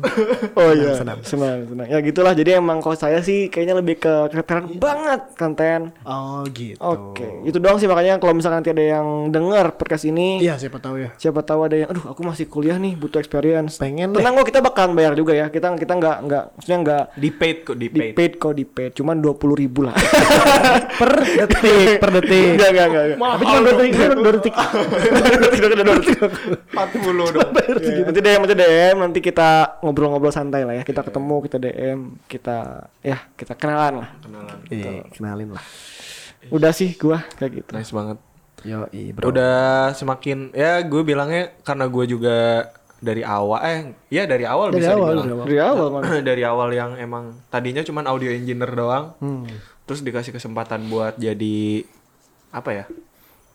S3: Oh iya
S1: senam.
S3: senang senang senang. Ya gitulah jadi emang kalau saya sih kayaknya lebih ke keteran banget konten.
S1: Oh gitu.
S3: Oke, itu doang sih makanya kalau misalkan nanti ada yang dengar podcast ini,
S1: Iya siapa tahu ya.
S3: siapa tahu ada yang, aduh aku masih kuliah nih butuh experience.
S1: Pengen deh.
S3: Tenang kok kita bakalan bayar juga ya. Kita kita nggak nggak maksudnya nggak
S2: Di paid kok, di
S3: di
S2: paid.
S3: paid kok di paid, cuman dua puluh ribu lah.
S1: Per detik, per detik.
S3: Enggak enggak enggak.
S1: Tapi cuma dua detik, cuma dua detik.
S2: Empat puluh dong.
S3: gitu. Nanti DM nanti DM nanti kita ngobrol-ngobrol santai lah ya. Kita ketemu kita DM kita ya kita kenalan lah.
S1: Iya, kenalin lah.
S3: Udah sih gua kayak gitu.
S2: Nice banget.
S1: Yo, bro.
S2: Udah semakin ya gue bilangnya karena gue juga dari awal eh ya dari awal
S1: Dari
S2: bisa
S1: awal,
S2: dibilang.
S1: dari awal.
S3: Dari awal Iya, man.
S2: dari awal yang emang tadinya cuman audio engineer doang
S1: Hmm.
S2: terus dikasih kesempatan buat jadi apa ya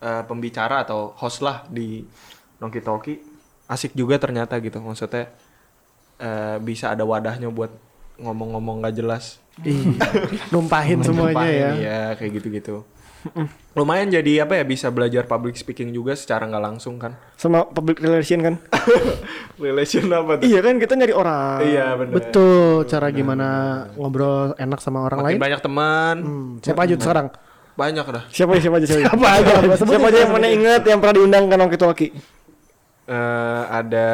S2: eh, pembicara atau host lah di Nongki Talki asik juga ternyata gitu maksudnya eh, bisa ada wadahnya buat ngomong-ngomong gak jelas
S1: Hmm. Numpahin semuanya
S2: Numpahin,
S1: ya.
S2: iya, kayak gitu-gitu lumayan jadi apa ya bisa belajar public speaking juga secara nggak langsung kan
S3: Sama public relation kan.
S2: relation apa tuh
S3: iya kan kita nyari orang.
S2: iya benar
S1: Betul, cara gimana ngobrol enak sama orang
S2: makin
S1: lain.
S2: banyak teman
S1: Hmm, Siapa aja sekarang?
S2: banyak dah
S3: Siapa ya, siapa aja siapa, aja?
S1: Siapa aja? Sebutin
S3: Siapa aja yang mana inget yang pernah diundang kan waktu itu Waki?
S2: Eh, ada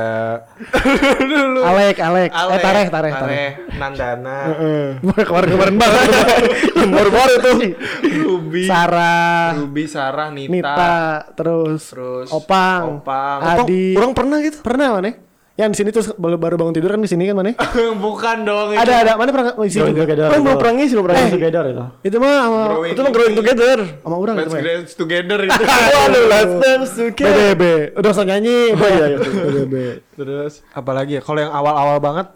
S2: dulu
S1: Alek, Alek. Eh, tareh, tareh, tareh.
S2: Nandana
S1: Kemarin kemarin banget. Baru baru tuh.
S2: Ruby
S1: Sarah,
S2: Ruby Sarah Nita,
S1: Nita, terus,
S2: terus
S1: Opang,
S2: Opang.
S1: Adi.
S3: Orang pernah gitu?
S1: Pernah mana? Yang di sini terus baru baru bangun tidur kan di sini kan mana?
S2: bukan dong
S1: Ada ada mana pernah di Oh, sini
S4: Growing
S1: juga?
S4: together.
S3: Kan belum pernah ngisi belum pernah
S4: Growing
S3: ngisi.
S4: together itu.
S1: Itu mah sama
S2: Growing.
S3: Itu mah growing together.
S1: Eh, sama orang
S2: Let's
S1: itu mah. ya?
S2: dance together gitu
S3: Waduh, last dance together.
S1: BDB. Udah usah nyanyi.
S3: Oh iya, iya.
S1: BDB.
S2: terus apalagi ya kalau yang awal-awal banget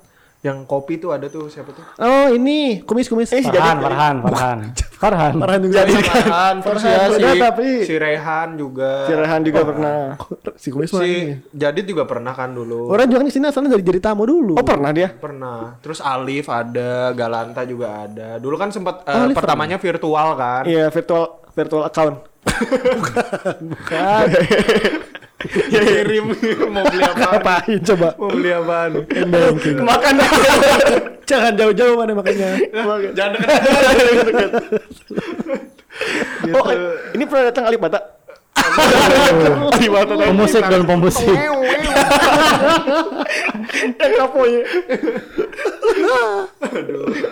S2: yang kopi tuh ada tuh siapa tuh
S1: Oh, ini kumis-kumis. Eh,
S4: Farhan, Farhan, Farhan. Farhan.
S1: Farhan juga.
S2: jadi Farhan terus ya
S1: Farhan
S2: si,
S1: udah, tapi-
S2: si Rehan juga
S3: Cirahan juga pernah.
S1: si kumis mah
S2: si
S1: ini.
S2: Jadit juga pernah kan dulu
S1: Orang juga kan di sini asalnya dari jadi tamu dulu.
S3: Oh pernah dia?
S2: pernah terus Alif ada Galanta juga ada dulu kan sempat eh,
S1: Oh, Alif
S2: pertamanya virtual kan
S3: Iya virtual virtual account.
S1: Bukan.
S2: kirim Ya, mau beli apa
S1: Ngapain coba?
S2: mau beli apaan
S1: Banking.
S3: Makan
S1: Jangan jauh-jauh mana makanya.
S2: jangan dekat
S1: Gitu.
S3: Oh ini pernah datang Alibata? Alibata tadi.
S4: Pemusik dan pemusik.
S3: Yang kapoy.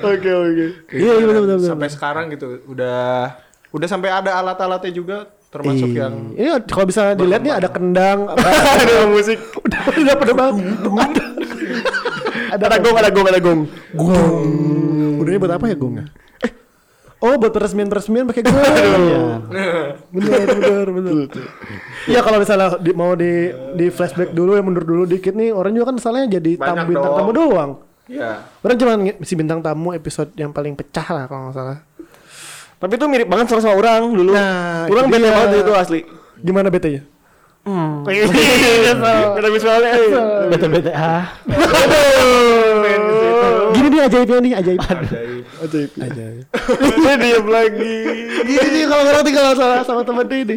S3: Oke oke.
S1: Iya, iya benar benar. benar.
S2: sampai sekarang gitu udah udah sampai ada alat-alatnya juga termasuk
S1: Ih,
S2: yang
S1: Ini Iya, kalau bisa dilihat nih ada kendang.
S3: Ada musik.
S1: udah udah pada bang. Ada
S3: Ada gong ada gong ada gong.
S1: gong. Udah buat apa ya gongnya? Eh, Oh buat peresmian-peresmian pakai gong.
S4: Iya.
S1: bener bener bener ya kalau misalnya di- mau di di flashback dulu ya mundur dulu dikit nih orang juga kan misalnya jadi tamu
S2: Banyak
S1: bintang
S2: dong.
S1: tamu doang
S2: ya
S1: orang cuma nge- si bintang tamu episode yang paling pecah lah kalau nggak salah
S3: Tapi itu mirip banget sama sama orang dulu.
S1: Nah,
S3: orang
S1: itu
S3: bete
S1: dia.
S3: banget itu asli.
S1: gimana
S3: ya?
S1: bete nya Hmm.
S3: gitu. Bete visualnya. eh.
S4: BTBTA.
S1: gini nih ajaibnya nih ajaib
S2: ajaib
S1: ajaib ajaib
S3: Dia diam lagi. Iya,
S1: gini nih kalau orang tinggal salah sama temen dia ini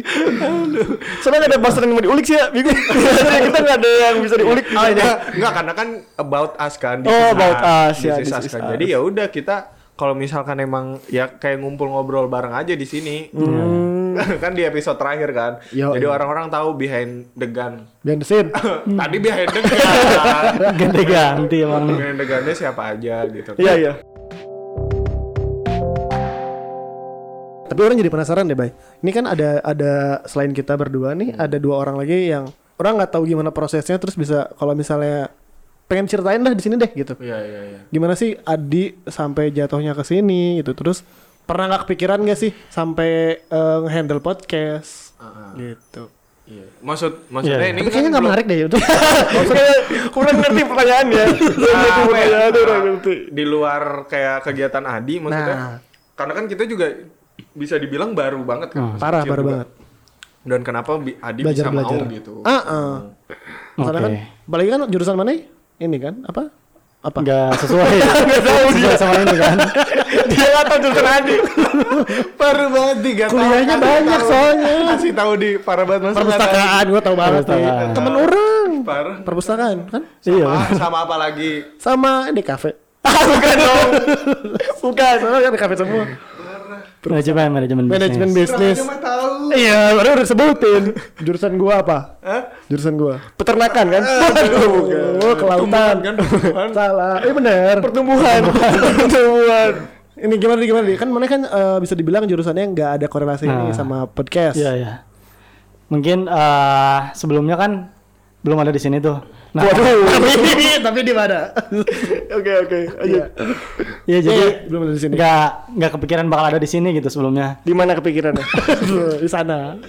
S3: Soalnya nggak ada bahasan yang mau diulik sih ya, bingung. kita nggak ada yang bisa diulik.
S2: oh iya nggak karena kan about us kan this is
S3: Oh, about us,
S2: This
S3: ya,
S2: is
S3: this
S2: us
S3: is
S2: kan.
S3: us.
S2: jadi ya udah kita kalau misalkan emang ya kayak ngumpul ngobrol bareng aja di sini kan di episode terakhir kan
S1: Yo,
S2: jadi
S1: iya.
S2: orang-orang tahu behind the gun
S1: biar desin
S2: tadi behind the gun
S4: Ganti-ganti emang.
S2: behind the gunnya siapa aja gitu
S3: Iya iya.
S1: tapi orang jadi penasaran deh bay ini kan ada ada selain kita berdua nih
S3: Hmm.
S1: ada dua orang lagi yang orang nggak tahu gimana prosesnya terus bisa kalau misalnya pengen ceritain dah di sini deh gitu
S2: iya iya iya
S1: gimana sih Adi sampai jatuhnya ke sini gitu terus pernah nggak kepikiran gak sih sampai eh, handle podcast
S2: Ah, ah,
S1: gitu
S2: iya. maksud maksudnya
S4: Iya, iya.
S2: ini
S1: tapi
S2: kan
S1: kayaknya nggak
S2: belum-
S1: menarik deh itu
S3: Maksudnya kurang ngerti pertanyaannya. Kurang
S2: Apa
S3: ngerti
S2: ya?
S3: pertanyaannya, kurang
S2: Nah,
S3: ngerti.
S2: di luar kayak kegiatan Adi maksudnya
S1: Nah.
S2: karena kan kita juga bisa dibilang baru banget kan masih
S1: parah
S2: kecil
S1: baru
S2: juga.
S1: banget
S2: dan kenapa bi- Adi
S1: belajar
S2: bisa
S1: belajar
S2: mau gitu
S1: ah ah. Soalnya
S4: Oke.
S1: kan apalagi kan jurusan mana ini kan apa apa?
S4: nggak sesuai sesuai sama ini kan
S3: Dia nggak tahu jurusan Adi.
S2: Parah banget tiga tahun.
S1: Kuliahnya
S2: kasih
S1: banyak
S2: tahu-
S1: soalnya.
S2: Kasih tahu di parah banget masa nggak tahu.
S1: Perpustakaan gue tau banget nih.
S4: Perpustakaan.
S1: Temen orang.
S2: Parah.
S1: Perpustakaan kan?
S4: iya
S2: Ah, sama apa lagi?
S1: Sama di kafe.
S3: Bukan dong.
S1: Bukan, soalnya kan di kafe semua.
S4: manajemen manajemen
S1: Manajemen bisnis.
S4: bisnis.
S2: Kurang aja mah tahu.
S1: Iya, baru udah sebutin. Jurusan gua apa?
S2: Hah?
S1: Jurusan gua.
S3: Peternakan kan?
S1: Oh, kelautan.
S2: Tumbuhan kan, tumbuhan.
S1: Salah. Eh bener.
S3: Pertumbuhan. Pertumbuhan.
S1: Ini gimana nih gimana nih? Kan mana kan eh, bisa dibilang jurusannya nggak ada korelasi ini
S4: Nah.
S1: sama podcast.
S4: Iya iya. Mungkin eh, sebelumnya kan belum ada di sini tuh. Nah,
S1: tapi tapi di mana?
S3: Oke oke. Ayo.
S1: Iya.
S4: iya
S1: Iya,
S4: jadi
S1: belum ada di sini.
S4: nggak nggak kepikiran bakal ada di sini gitu sebelumnya.
S3: Di mana kepikirannya?
S1: di sana.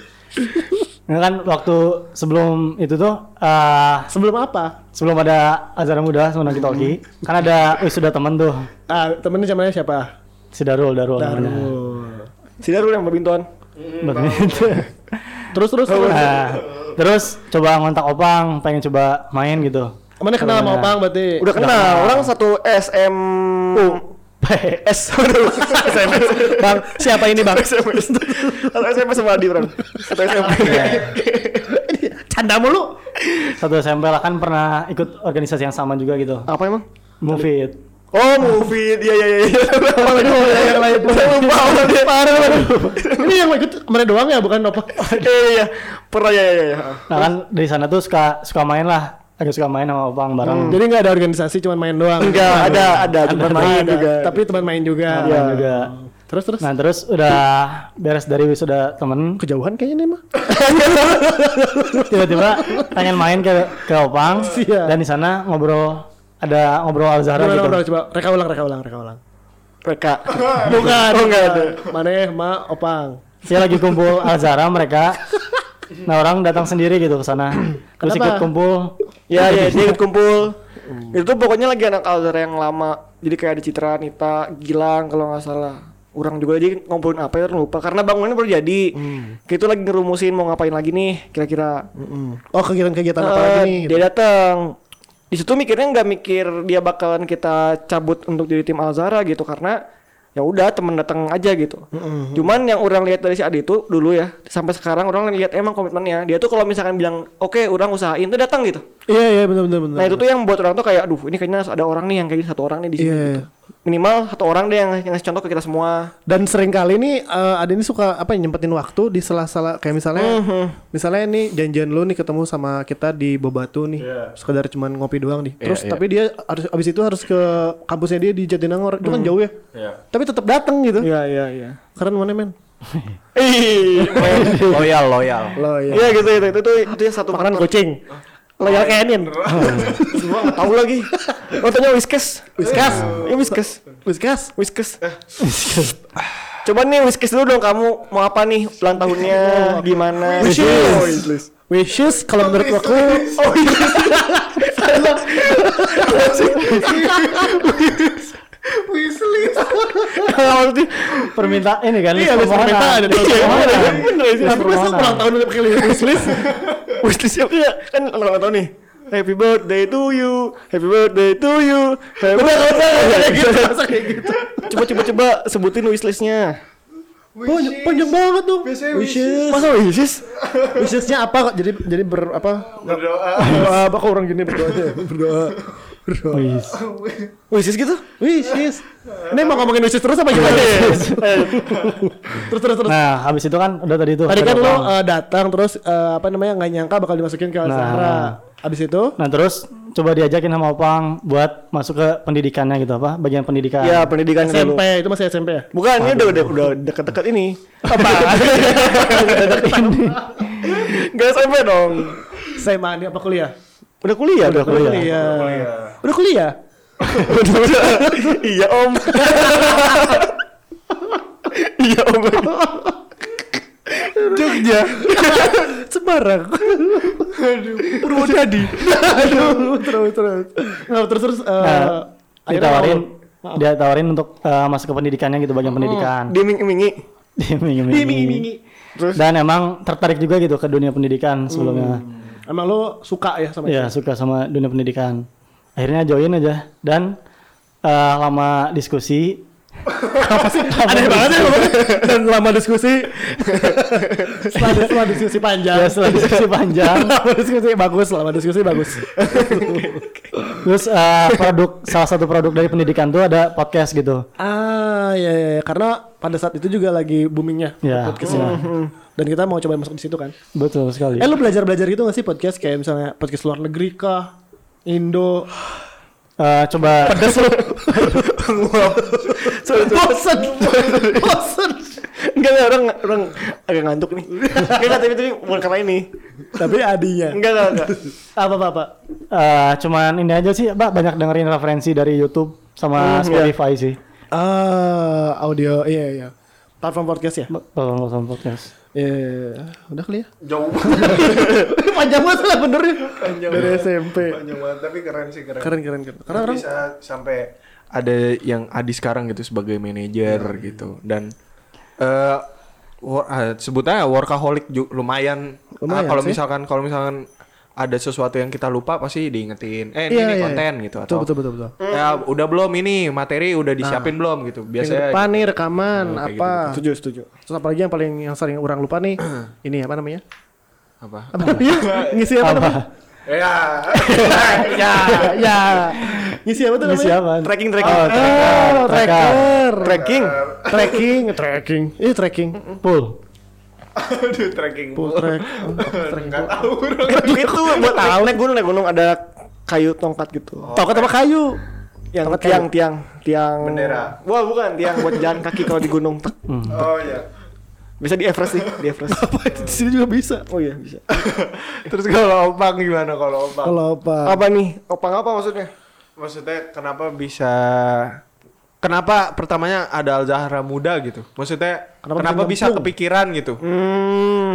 S4: Nah, kan waktu sebelum itu tuh eh
S1: Sebelum apa?
S4: sebelum ada acara muda sama Nagi Toki, kan ada wisuda temen tuh.
S1: Ah, temennya namanya siapa?
S4: Si Darul, Darul. namanya.
S1: Darul.
S3: Si Darul yang berbintuan.
S1: Hmm,
S4: Badminton.
S1: Terus terus terus.
S4: Nah, terus coba ngontak Opang, pengen coba main gitu.
S1: Mana kenal sama
S4: Mana?
S1: Opang berarti? Nah.
S3: Udah kenal.
S4: kenal.
S3: Orang satu SM. S aduh. SMS.
S1: Bang, siapa ini Bang?
S3: SMS. Satu SMS sama Adi orang. Satu SMP.
S1: Canda mulu.
S4: Satu SMP lah kan pernah ikut organisasi yang sama juga gitu.
S3: Apa emang?
S4: Move It.
S3: Oh, movie. Iya iya iya.
S1: yang lain.
S3: Saya lupa awalnya.
S1: Parah parah. Ini yang ikut mereka doang ya bukan Opang.
S3: Iya iya iya. Pernah ya ya ya.
S4: Nah kan dari sana tuh suka suka main lah, agak suka main sama Opang bareng.
S3: Hmm.
S1: Jadi nggak ada organisasi, cuma main doang.
S3: Enggak, ada ada
S1: Ada,
S3: teman main
S1: ada.
S3: juga.
S1: Tapi teman main juga.
S4: Nah, main juga.
S1: Terus terus.
S4: Nah terus udah beres dari wisuda temen,
S1: Kejauhan kayaknya nih mah.
S4: tiba-tiba pengen main ke ke Opang
S1: Iya.
S4: dan di sana ngobrol ada ngobrol Alzara
S1: Gimana
S4: gitu.
S1: ngobrol coba? Reka ulang, reka ulang, reka ulang.
S3: Reka.
S1: Bukan.
S3: Oh, nggak ada.
S1: Mana ya? ma opang.
S4: Dia lagi kumpul Alzara mereka. Nah orang datang sendiri gitu ke sana. Terus
S1: Kenapa?
S4: ikut kumpul.
S3: Ya ya dia ikut kumpul. Itu tuh pokoknya lagi anak Alzara yang lama. Jadi kayak ada Citra, Nita, Gilang kalau nggak salah. Orang juga jadi ngumpulin apa ya orang lupa karena bangunannya baru jadi. Kayak itu lagi ngerumusin mau ngapain lagi nih kira-kira.
S1: Oh kegiatan-kegiatan apa
S3: Eh,
S1: lagi nih?
S3: Dia datang. Di situ mikirnya nggak mikir dia bakalan kita cabut untuk jadi tim Alzara gitu karena ya udah temen datang aja gitu. Cuman yang orang lihat dari si Adi itu dulu ya sampai sekarang orang lihat emang komitmennya. Dia tuh kalau misalkan bilang oke orang usahain tuh datang gitu.
S1: Iya iya benar benar benar.
S3: Nah itu tuh yang buat orang tuh kayak aduh ini kayaknya harus ada orang nih yang kayak gini, satu orang nih di sini.
S1: Iya.
S3: gitu. Minimal satu orang deh yang yang ngasih contoh ke kita semua.
S1: Dan sering kali nih eh, ada ini suka apa ya, nyempetin waktu di sela-sela kayak
S3: Eh.
S1: misalnya
S3: Mhm.
S1: misalnya ini janjian lu nih ketemu sama kita di Bobatu nih. Sekedar cuman ngopi doang nih. Terus tapi dia harus abis itu harus ke kampusnya dia di Jatinangor. Itu kan jauh ya.
S2: Iya.
S1: Tapi tetap datang gitu.
S3: Iya iya iya.
S1: Keren mana men?
S3: Ih,
S2: Loyal, loyal.
S1: Lo ya.
S3: iya gitu gitu itu tuh itu yang satu
S1: Makanan
S3: faktor. Oh,
S1: kucing. Loyal kenin.
S3: Gua nggak tahu lagi. Oh tanya Whiskas.
S1: Whiskas.
S3: Ini Whiskas.
S1: Whiskas.
S3: Whiskas. Coba nih Whiskas dulu dong kamu mau apa nih ulang tahunnya gimana?
S2: Oh,
S1: Wishes. Wishes Oh, kalau menurut aku Oh,
S2: Wishlist.
S3: Maksudnya,
S4: Permintaan ini kan.
S1: Iya, list permintaan ada dua.
S3: Bener sih.
S1: tapi masa ulang tahun udah pakai wishlist.
S3: Wishlist ya kayak kan orang ulang tahun nih. Happy birthday to you, happy birthday to you. Happy birthday. gitu. Coba coba coba sebutin wishlistnya.
S1: Panjang, panjang banget tuh.
S2: Biasanya
S1: Wishes.
S3: Masa wishes?
S1: Wishesnya apa? Jadi jadi ber apa?
S2: Berdoa.
S1: Berdoa apa kok orang gini berdoanya? Berdoa. Berdoa.
S3: Wishes gitu?
S1: Wishes. Ini mau ngomongin wishes terus apa
S3: Iya,
S1: gimana? terus terus terus.
S4: Nah habis itu kan udah tadi tuh.
S1: Tadi
S4: ada
S1: kan lo
S4: Opang.
S1: eh, datang terus eh, apa namanya nggak nyangka bakal dimasukin ke Zahra. Abis itu
S4: Nah terus coba diajakin sama Opang buat masuk ke pendidikannya gitu apa bagian pendidikan.
S3: Ya
S1: Iya,
S3: pendidikan dulu.
S1: SMP itu masih SMP ya?
S3: Bukan, ini udah udah udah deket-deket ini. Apa? Gak SMP dong.
S1: SMA ini apa kuliah? Iya.
S3: Udah kuliah, udah kuliah.
S1: Kuliah. Udah kuliah.
S3: Udah, udah. Iya om. Iya om. Jogja.
S1: Semarang.
S3: Purwodadi.
S1: Aduh, terus terus. Nah, terus terus eh,
S4: Nah,
S1: akhirnya
S4: ditawarin
S1: mau-
S4: dia tawarin untuk eh, masuk ke pendidikannya gitu
S1: Oh.
S4: bagian pendidikan.
S3: Dia mingi-mingi.
S4: Diiming-imingi.
S1: Diiming-imingi.
S3: Terus?
S4: Dan emang tertarik juga gitu
S1: Hmm.
S4: ke dunia pendidikan sebelumnya.
S1: Emang lo suka ya sama
S4: Iya. Ya suka sama dunia pendidikan. akhirnya join aja dan eh, lama diskusi apa sih
S1: Aneh banget ya pokoknya. dan lama diskusi. setelah, setelah diskusi panjang.
S4: ya setelah diskusi panjang
S1: lama diskusi bagus, lama diskusi bagus.
S4: terus eh, produk salah satu produk dari pendidikan tuh ada podcast gitu
S1: ah ya, ya, ya. karena pada saat itu juga lagi boomingnya
S4: Ya,
S1: podcast
S4: iya.
S1: Dan kita mau coba masuk di situ kan.
S4: betul sekali
S1: Eh lu belajar-belajar gitu gak sih podcast kayak misalnya podcast luar negeri kah? Indo.
S4: Eh, coba
S1: Pedes lu. Bosen. Bosen.
S3: Enggak ada orang orang agak ngantuk nih. Enggak enggak, tapi tapi bukan karena ini.
S1: Tapi adinya.
S3: Enggak enggak enggak.
S1: Apa apa apa.
S4: eh, cuman ini aja sih Mbak, banyak dengerin referensi dari YouTube sama
S3: Hmm, iya.
S4: Spotify sih
S1: Ah, audio. Iya iya. Platform podcast ya?
S4: Tolong tolong podcast
S1: Iya, iya, iya. udah kali ya.
S2: Jauh
S1: Panjang banget lah benernya. Dari SMP.
S2: panjang banget tapi keren sih keren.
S1: Keren keren keren. Karena orang
S2: bisa sampai ada yang Adi sekarang gitu sebagai manajer
S1: Iya,
S2: gitu dan eh wor- eh, sebut aja workaholic ju- lumayan, Ah,
S1: Lumayan
S2: kalau
S1: sih.
S2: misalkan kalau misalkan ada sesuatu yang kita lupa pasti diingetin eh ini,
S1: Iya,
S2: nih
S1: iya,
S2: konten
S1: iya.
S2: gitu
S1: Betul
S2: atau
S1: betul betul. betul.
S2: ya udah belum ini materi udah disiapin belum gitu
S1: Biasanya
S2: biasanya
S1: depan nih rekaman
S2: Nah, kayak
S1: apa?
S3: Setuju setuju.
S1: Terus apalagi yang paling yang sering orang lupa nih, ini apa namanya?
S2: apa
S1: Apa namanya? Ngisi apa, namanya?
S2: ya
S1: ya, ya. Ngisi apa tuh
S4: Ngisi
S1: namanya?
S4: apaan?
S3: Tracking tracking.
S4: Oh, tra-
S1: Oh,
S4: Tracker.
S1: tracker.
S3: Tracking.
S1: Tracking, tracking. Iya tracking.
S4: Pull.
S2: aduh tracking
S1: Pull track.
S2: nggak tahu
S3: Itu buat tahu naik gunung naik gunung ada kayu tongkat gitu.
S1: Tongkat apa kayu?
S3: Yang
S1: Tongkat
S3: tiang tiang tiang
S2: Bendera.
S3: Wah, bukan tiang buat jalan kaki kalau di gunung. Tek.
S1: Hmm.
S2: oh ya
S3: Bisa di Everest nih, di Everest.
S1: Apa di sini juga bisa.
S3: Oh iya, bisa.
S2: terus kalau opang gimana kalau opang
S1: Kalau apa?
S3: Apa nih? Opang apa maksudnya?
S2: Maksudnya kenapa bisa Kenapa pertamanya ada Al Zahra muda gitu? Maksudnya
S1: Kenapa
S2: kenapa,
S1: bisa
S2: bisa
S1: nyemplung?
S2: kepikiran gitu?
S3: Hmm.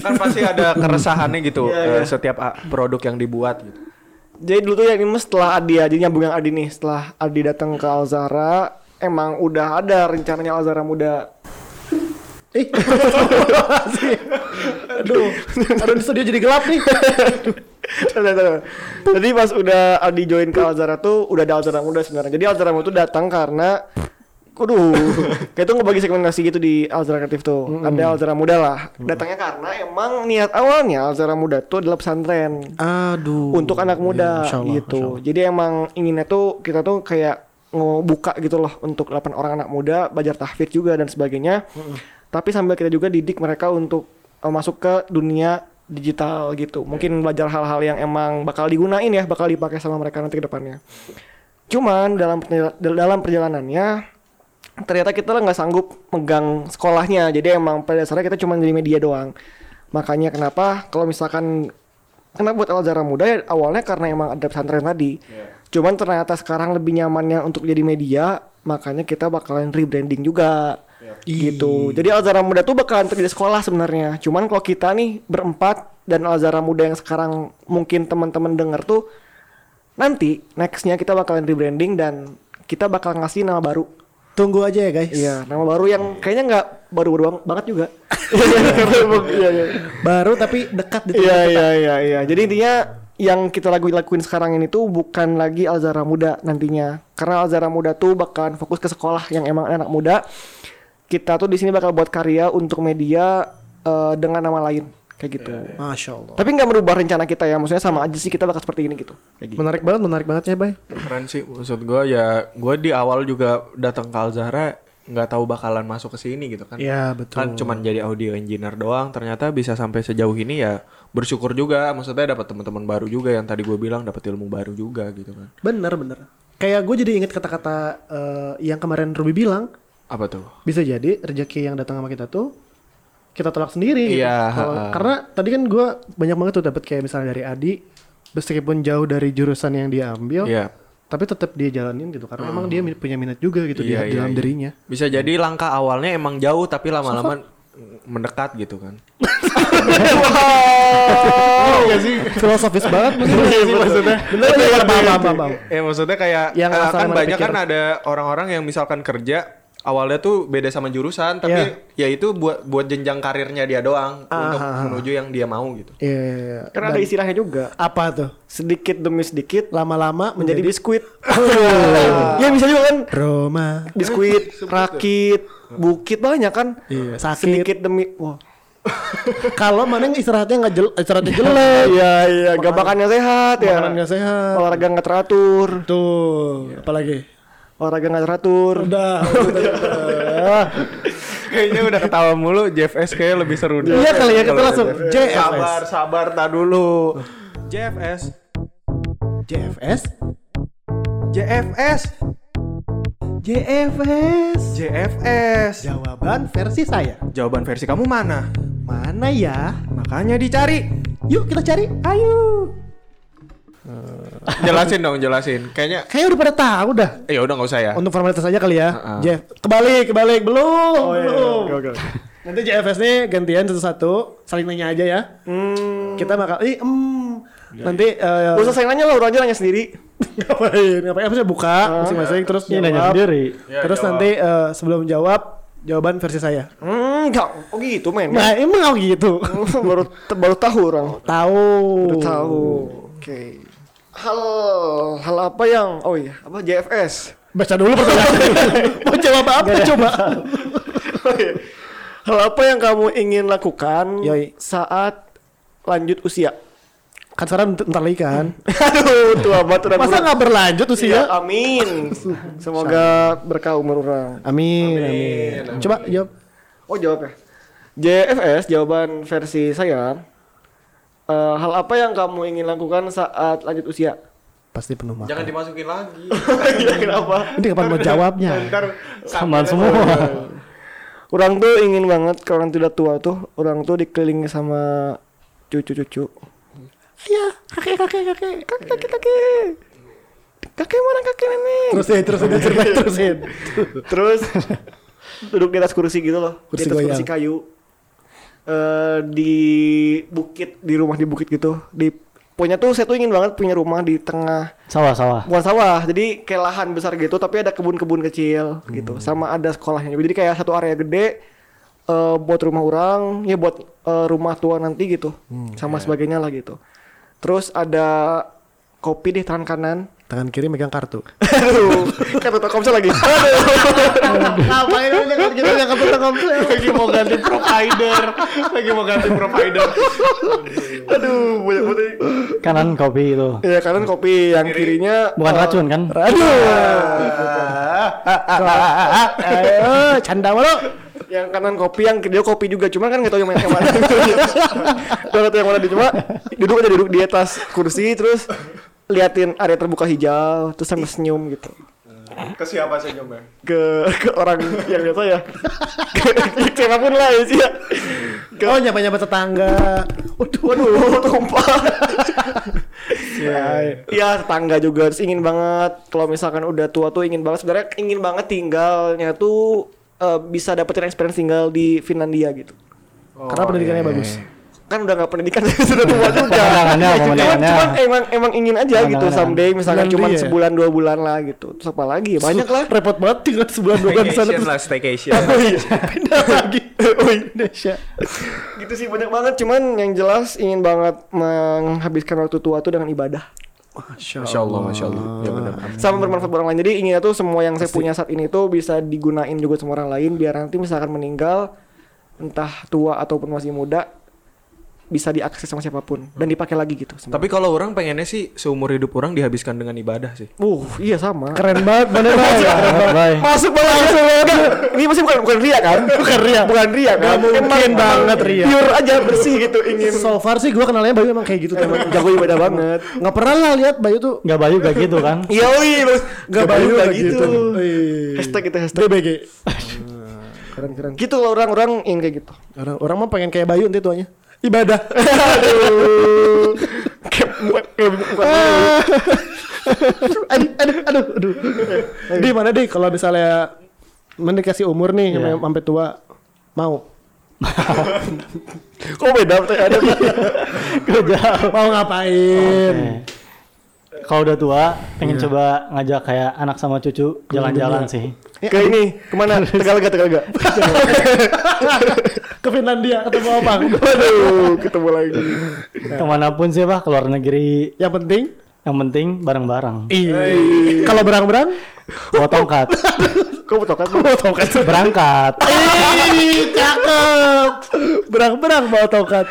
S2: Kan pasti ada keresahannya gitu
S3: Iya,
S2: eh, setiap ah, produk yang dibuat gitu.
S3: Jadi dulu tuh ya ini mah setelah Adi aja nyambung yang Adi nih setelah Adi datang ke Alzara emang udah ada rencananya Alzara muda.
S1: Eh, sih. Aduh, aduh di studio jadi gelap nih.
S3: Tuh, tuh, tuh. Jadi pas udah Adi join ke Alzara tuh udah ada Alzara muda sebenarnya. Jadi Alzara muda tuh datang karena Kudu, kayak itu ngebagi segmentasi gitu di Alzara Kreatif tuh. Ada Alzara muda lah. Datangnya karena emang niat awalnya Alzara muda tuh adalah pesantren.
S1: Aduh.
S3: untuk anak
S1: Iya,
S3: muda
S1: Masya Allah,
S3: gitu.
S1: Masya Allah.
S3: Jadi emang inginnya tuh kita tuh kayak ngebuka gitu loh untuk 8 orang anak muda belajar tahfidz juga dan sebagainya. Tapi sambil kita juga didik mereka untuk eh, masuk ke dunia digital gitu.
S1: Iya.
S3: Mungkin belajar hal-hal yang emang bakal digunain ya, bakal dipakai sama mereka nanti ke depannya. Cuman dalam perjala- dalam perjalanannya ternyata kita nggak sanggup megang sekolahnya jadi emang pada dasarnya kita cuma jadi media doang makanya kenapa kalau misalkan kenapa buat Alzara muda ya awalnya karena emang ada pesantren tadi cuman ternyata sekarang lebih nyamannya untuk jadi media makanya kita bakalan rebranding juga gitu jadi Alzara muda tuh bakalan terjadi sekolah sebenarnya cuman kalau kita nih berempat dan Alzara muda yang sekarang mungkin teman-teman dengar tuh nanti nextnya kita bakalan rebranding dan kita bakal ngasih nama baru
S1: Tunggu aja ya, guys.
S3: Iya, nama baru yang kayaknya nggak baru-baru bang- banget juga. Iya, iya.
S1: Baru tapi dekat gitu. di
S3: Iya, iya, iya, iya. Jadi intinya yang kita lagu lakuin sekarang ini tuh bukan lagi Alzara Muda nantinya. Karena Alzara Muda tuh bakalan fokus ke sekolah yang emang anak muda. Kita tuh di sini bakal buat karya untuk media eh, dengan nama lain kayak gitu.
S1: Masya Allah.
S3: Tapi nggak merubah rencana kita ya, maksudnya sama aja sih kita bakal seperti ini gitu.
S1: Menarik banget, menarik banget ya, Bay.
S2: Keren sih maksud gua ya gua di awal juga datang ke Al Zahra nggak tahu bakalan masuk ke sini gitu kan.
S1: Iya, betul.
S2: Kan cuman jadi audio engineer doang ternyata bisa sampai sejauh ini ya bersyukur juga maksudnya dapat teman-teman baru juga yang tadi gua bilang dapat ilmu baru juga gitu kan.
S1: Bener, bener. Kayak gue jadi inget kata-kata eh, yang kemarin Ruby bilang,
S2: Apa tuh?
S1: bisa jadi rezeki yang datang sama kita tuh kita tolak sendiri. gitu.
S2: Iya,
S1: Kalau-
S2: ha-ha.
S1: Karena tadi kan gue banyak banget tuh dapat kayak misalnya dari Adi, meskipun jauh dari jurusan yang dia ambil,
S2: Iya. Hmm.
S1: tapi tetap dia jalanin gitu karena emang dia min- punya minat juga gitu di
S2: Iya, iya,
S1: dalam
S2: iya.
S1: dirinya.
S2: Bisa jadi langkah awalnya emang jauh tapi lama-lama mendekat gitu kan.
S1: Filosofis banget maksudnya. Bener, bener, bener, paham, paham, paham.
S2: Ya Iya, maksudnya kayak
S1: Yang
S2: eh,
S1: asal
S2: kan
S1: mana
S2: banyak
S1: pikir.
S2: kan ada orang-orang yang misalkan kerja awalnya tuh beda sama jurusan tapi ya itu buat buat jenjang karirnya dia doang untuk
S1: Iya. ah, ah.
S2: menuju yang dia mau gitu
S1: Iya, iya, iya.
S3: Karena ada istilahnya juga.
S1: apa tuh?
S3: Sedikit demi sedikit
S1: Lama-lama menjadi,
S3: menjadi biskuit. ya bisa juga kan
S1: Roma.
S3: biskuit, rakit, bukit banyak kan.
S1: Iya, sakit.
S3: Sedikit demi wah.
S1: Kalau mana yang istirahatnya nggak jelek, istirahatnya jelek.
S3: Iya iya, gak makannya sehat ya.
S1: Makanan nggak sehat.
S3: Olahraga nggak teratur,
S2: Iya.
S1: Tuh, apalagi?
S3: olahraga nggak teratur. Ah.
S1: Udah.
S2: kayaknya udah ketawa mulu JFS kayak lebih seru deh
S1: Iya kali ya, kita
S2: Kalau
S1: langsung
S2: JFS.
S1: JFS.
S2: sabar sabar tak dulu JFS
S1: JFS,
S2: JFS
S1: JFS.
S2: JFS
S1: Jawaban versi saya.
S2: jawaban versi kamu mana
S1: Mana ya?
S2: makanya dicari
S1: Yuk kita cari. Ayo.
S2: jelasin dong jelasin kayaknya
S1: Kayaknya udah pada tahu dah.
S2: ya udah nggak usah ya
S1: Untuk formalitas aja kali ya.
S2: Heeh.
S1: Jeff, kebalik, kebalik belum. belum.
S3: Oh, iya, oke, oke.
S1: Nanti JFS nih gantian satu-satu, saling nanya aja ya. Kita bakal ih em. nanti eh
S3: Iya, Gak usah saya Hmm. nanya lah, orang aja nanya sendiri.
S1: ngapain? Ngapain? Maksudnya buka
S3: Ah,
S1: masing-masing terus
S3: iya,
S4: Ini nanya
S1: jawab.
S4: sendiri.
S2: Ya,
S1: terus
S2: jawab.
S1: nanti eh, sebelum jawab jawaban versi saya.
S3: Hmm, enggak. Oh gitu men.
S1: Nah, emang gitu.
S3: baru baru tahu orang.
S1: Tahu.
S3: Baru tahu. Oke. Hal hal apa yang oh iya, apa JFS?
S1: Baca dulu pertanyaannya. Mau jawab apa coba?
S3: Oh, iya. hal apa yang kamu ingin lakukan
S1: Yoi.
S3: saat lanjut usia?
S1: Kan sekarang bent- bentar lagi kan.
S3: Aduh, tua banget orang.
S1: Masa
S3: orang.
S1: nggak berlanjut
S3: Iya,
S1: usia?
S3: amin. Semoga berkah umur orang.
S1: Amin, amin. Coba jawab.
S3: Oh jawab ya. JFS jawaban versi saya. eh, hal apa yang kamu ingin lakukan saat lanjut usia?
S1: Pasti penuh makan.
S2: jangan dimasukin lagi
S3: Iya kenapa?
S1: Ini kapan mau jawabnya?
S4: Samaan semua.
S3: Orang tuh ingin banget kalau orang tidak tua tuh orang tuh dikelilingi sama cucu-cucu.
S1: Iya, kakek kakek kakek.
S3: Kakek-kakek. Kakek mana kakek nenek?
S1: Terusin, terusin, terusin, terusin.
S3: Terus duduk di atas kursi gitu loh,
S1: Kursi
S3: di atas kursi
S1: goyang.
S3: kayu. Eh, di bukit, di rumah di bukit gitu. Di punya tuh saya tuh ingin banget punya rumah di tengah
S4: Sawah sawah.
S3: bukan sawah, jadi kayak lahan besar gitu tapi ada kebun-kebun kecil
S2: Hmm.
S3: gitu. Sama ada sekolahnya. Jadi kayak satu area gede eh, buat rumah orang, ya buat eh, rumah tua nanti gitu.
S2: Hmm,
S3: Sama sebagainya lah gitu. Terus ada kopi di tangan kanan.
S1: Tangan kiri megang kartu.
S3: Aduh, kata Telkomsel lagi.
S1: Ngapain aja kan kita megang kartu Telkomsel?
S2: lagi mau ganti provider lagi mau ganti provider
S3: Aduh, banyak banget. ini.
S4: Kanan kopi itu.
S3: Ya kanan kopi, yang kirinya
S4: Bukan
S3: eh,
S4: racun kan?
S1: Ayo, Eh, canda mulu.
S3: yang kanan kopi yang dia kopi juga cuma kan nggak tahu yang mana yang mana Nggak tahu yang mana dia cuma duduk aja duduk di atas kursi terus liatin area terbuka hijau terus sambil senyum gitu
S2: ke siapa sih Jom, ya?
S3: ke ke orang yang biasa ya ke, ke siapapun lah ya sih ya
S1: Oh, nyapa-nyapa tetangga.
S3: waduh waduh tumpah Iya tetangga juga terus ingin banget kalau misalkan udah tua tuh ingin banget sebenarnya ingin banget tinggalnya tuh eh, bisa dapetin experience tinggal di Finlandia gitu
S2: Oh,
S1: Karena pendidikannya
S2: iya.
S1: bagus.
S3: kan udah nggak pendidikan sudah tua juga.
S4: Pemandangannya,
S3: Cuman,
S4: pemandangannya.
S3: cuman emang emang ingin aja gitu
S4: Pemandangannya.
S3: someday misalnya
S1: Nanti
S3: cuman
S1: ya.
S3: sebulan dua bulan lah gitu. Terus apa lagi? ya, Banyak lah.
S1: Repot banget tinggal sebulan dua bulan di sana
S2: Staycation
S1: terus
S2: lah staycation
S1: iya. pindah lagi. Oh, Indonesia.
S3: Gitu sih banyak banget. Cuman yang jelas ingin banget menghabiskan waktu tua tuh dengan ibadah.
S2: Masya Allah, Masya Allah. Ya benar.
S3: Sama bermanfaat buat orang lain. Jadi inginnya tuh semua yang saya punya saat ini tuh bisa digunain juga sama orang lain biar nanti misalkan meninggal entah tua ataupun masih muda bisa diakses sama siapapun dan dipakai lagi gitu. Sama.
S2: Tapi kalau orang pengennya sih seumur hidup orang dihabiskan dengan ibadah sih.
S3: Uh, iya sama.
S1: Keren banget, bener banget.
S4: Bye.
S3: Masuk bola langsung ya. Enggak, Ini pasti bukan bukan Ria kan? Bukan Ria. Bukan Ria kan?
S1: Gak mungkin
S3: Emang
S1: banget Ria.
S3: Pure aja bersih gitu ingin.
S1: So far sih gue kenalnya Bayu emang kayak gitu teman.
S3: Jago ibadah banget.
S1: Gak pernah lah lihat Bayu tuh
S4: Nggak bayu gak gitu kan?
S3: Iya oi, bagus. Gak bayu lah gitu.
S1: Wih.
S3: Hashtag itu hashtag.
S1: DBG. keren keren.
S3: Gitu lah orang-orang ingin kayak gitu.
S1: Orang orang mah pengen kayak Bayu nanti tuanya. Ibadah.
S3: Aduh. Kayak bukan kayak bukan.
S1: aduh, aduh, aduh, aduh. Di mana deh kalau misalnya mendekati umur nih
S4: Iya.
S1: sampai- sampai tua mau
S3: Kok beda pertanyaan ada.
S1: mau ngapain?
S4: Oke.
S1: Iya.
S4: Kalau udah tua, pengen coba ngajak kayak anak sama cucu jalan-jalan sih.
S1: Iya.
S3: Ke ini kemana? Tegalaga, Tegalaga.
S4: ke Finlandia ketemu Opang.
S3: Waduh, ketemu lagi.
S4: Kemanapun sih pak, keluar negeri.
S1: Yang penting
S4: Yang penting bareng-bareng.
S1: kalau berang-berang
S4: Bawa tongkat,
S3: Kok butuh
S4: berangkat,
S1: Ih, cakep. Berang-berang bawa tongkat.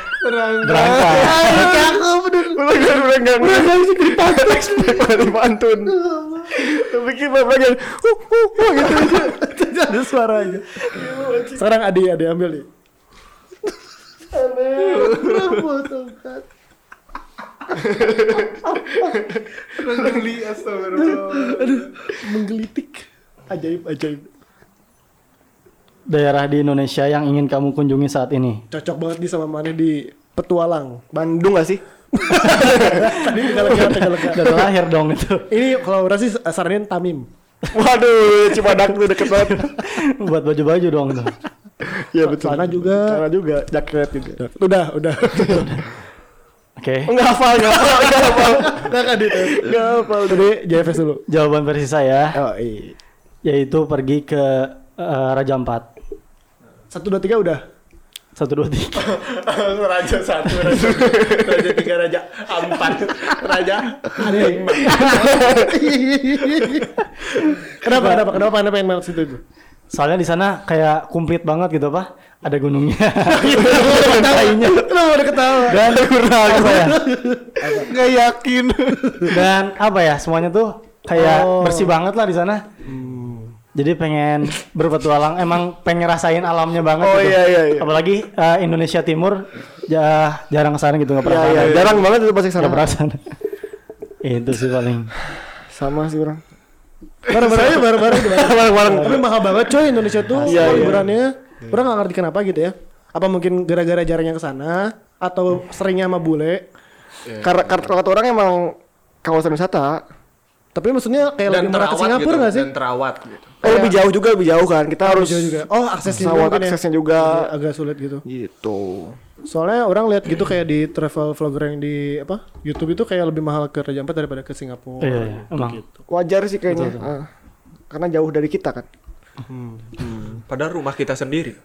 S4: berangkat.
S1: Ih, cakep deh.
S3: Ulang kan ulang kan Ulang kan sih dari Dari pantun Tapi kita bagian Huh huh huh gitu
S1: Ada suaranya. Sekarang Adi, Adi ambil nih. Menggelitik. Ajaib, ajaib.
S4: Daerah di Indonesia yang ingin kamu kunjungi saat ini.
S1: Cocok banget di sama mana di petualang.
S3: Bandung gak sih?
S1: Tadi tegalaga, tegalaga.
S4: Dan lahir dong itu
S1: Ini kalau orang sih saranin Tamim.
S3: Waduh Cibadak tuh deket banget
S4: buat baju-baju dong tuh.
S3: Ya betul
S1: Iya, Celana juga.
S3: Sana juga Jaket juga
S1: Udah, udah.
S4: Oke.
S3: Enggak hafal Enggak hafal Enggak hafal
S1: Enggak kan itu.
S3: Enggak hafal
S1: Tadi JFS dulu.
S4: Jawaban versi saya
S1: Oh, iya.
S4: yaitu pergi ke eh, Raja Ampat.
S1: Satu, dua, tiga udah.
S4: Satu dua tiga.
S2: raja satu, raja, raja tiga, raja empat, raja lima.
S1: kenapa, kenapa, kenapa anda pengen masuk situ?
S4: Soalnya di sana kayak komplit banget gitu pak. Ada gunungnya.
S1: Kayaknya. Kenapa udah ketawa?
S4: Dan apa ya?
S3: Enggak yakin
S4: Dan apa ya? Semuanya tuh kayak
S1: Oh.
S4: bersih banget lah di sana.
S3: Hmm.
S4: Jadi pengen berpetualang, emang pengen ngerasain alamnya banget
S3: Oh,
S4: gitu.
S3: iya, iya, iya.
S4: Apalagi eh, Indonesia Timur ja- jarang kesana gitu nggak
S3: Ya
S4: pernah.
S3: ya
S4: kesana.
S3: Jarang banget itu pasti
S4: Nggak
S3: sana
S4: pernah kesana. Itu sih paling.
S3: Sama sih orang
S1: Baru-baru aja, baru-baru aja, baru-baru.
S3: Barang-barang
S1: Tapi mahal banget coy Indonesia tuh
S3: Iya, iya.
S1: liburannya. Orang nggak ngerti kenapa gitu ya. Apa mungkin gara-gara jarangnya ke sana atau seringnya sama bule.
S3: Karena karena kata orang emang Kawasan wisata
S1: Tapi maksudnya kayak
S2: Dan
S1: lebih murah ke
S2: terawat
S1: Singapura
S2: gitu,
S1: nggak sih?
S2: dan terawat gitu.
S3: Oh lebih jauh juga Lebih jauh kan Kita harus
S1: Jauh juga. Oh, aksesnya
S3: Pesawat
S1: mungkin ya.
S3: aksesnya juga
S1: Iya, agak sulit gitu.
S3: Gitu
S1: Soalnya orang lihat gitu kayak di travel vlogger yang di apa YouTube itu kayak lebih mahal ke Raja Ampat daripada ke Singapura.
S4: Iya, iya,
S3: Gitu.
S4: emang.
S3: Wajar sih kayaknya Ah, Karena jauh dari kita kan
S2: Padahal rumah kita sendiri.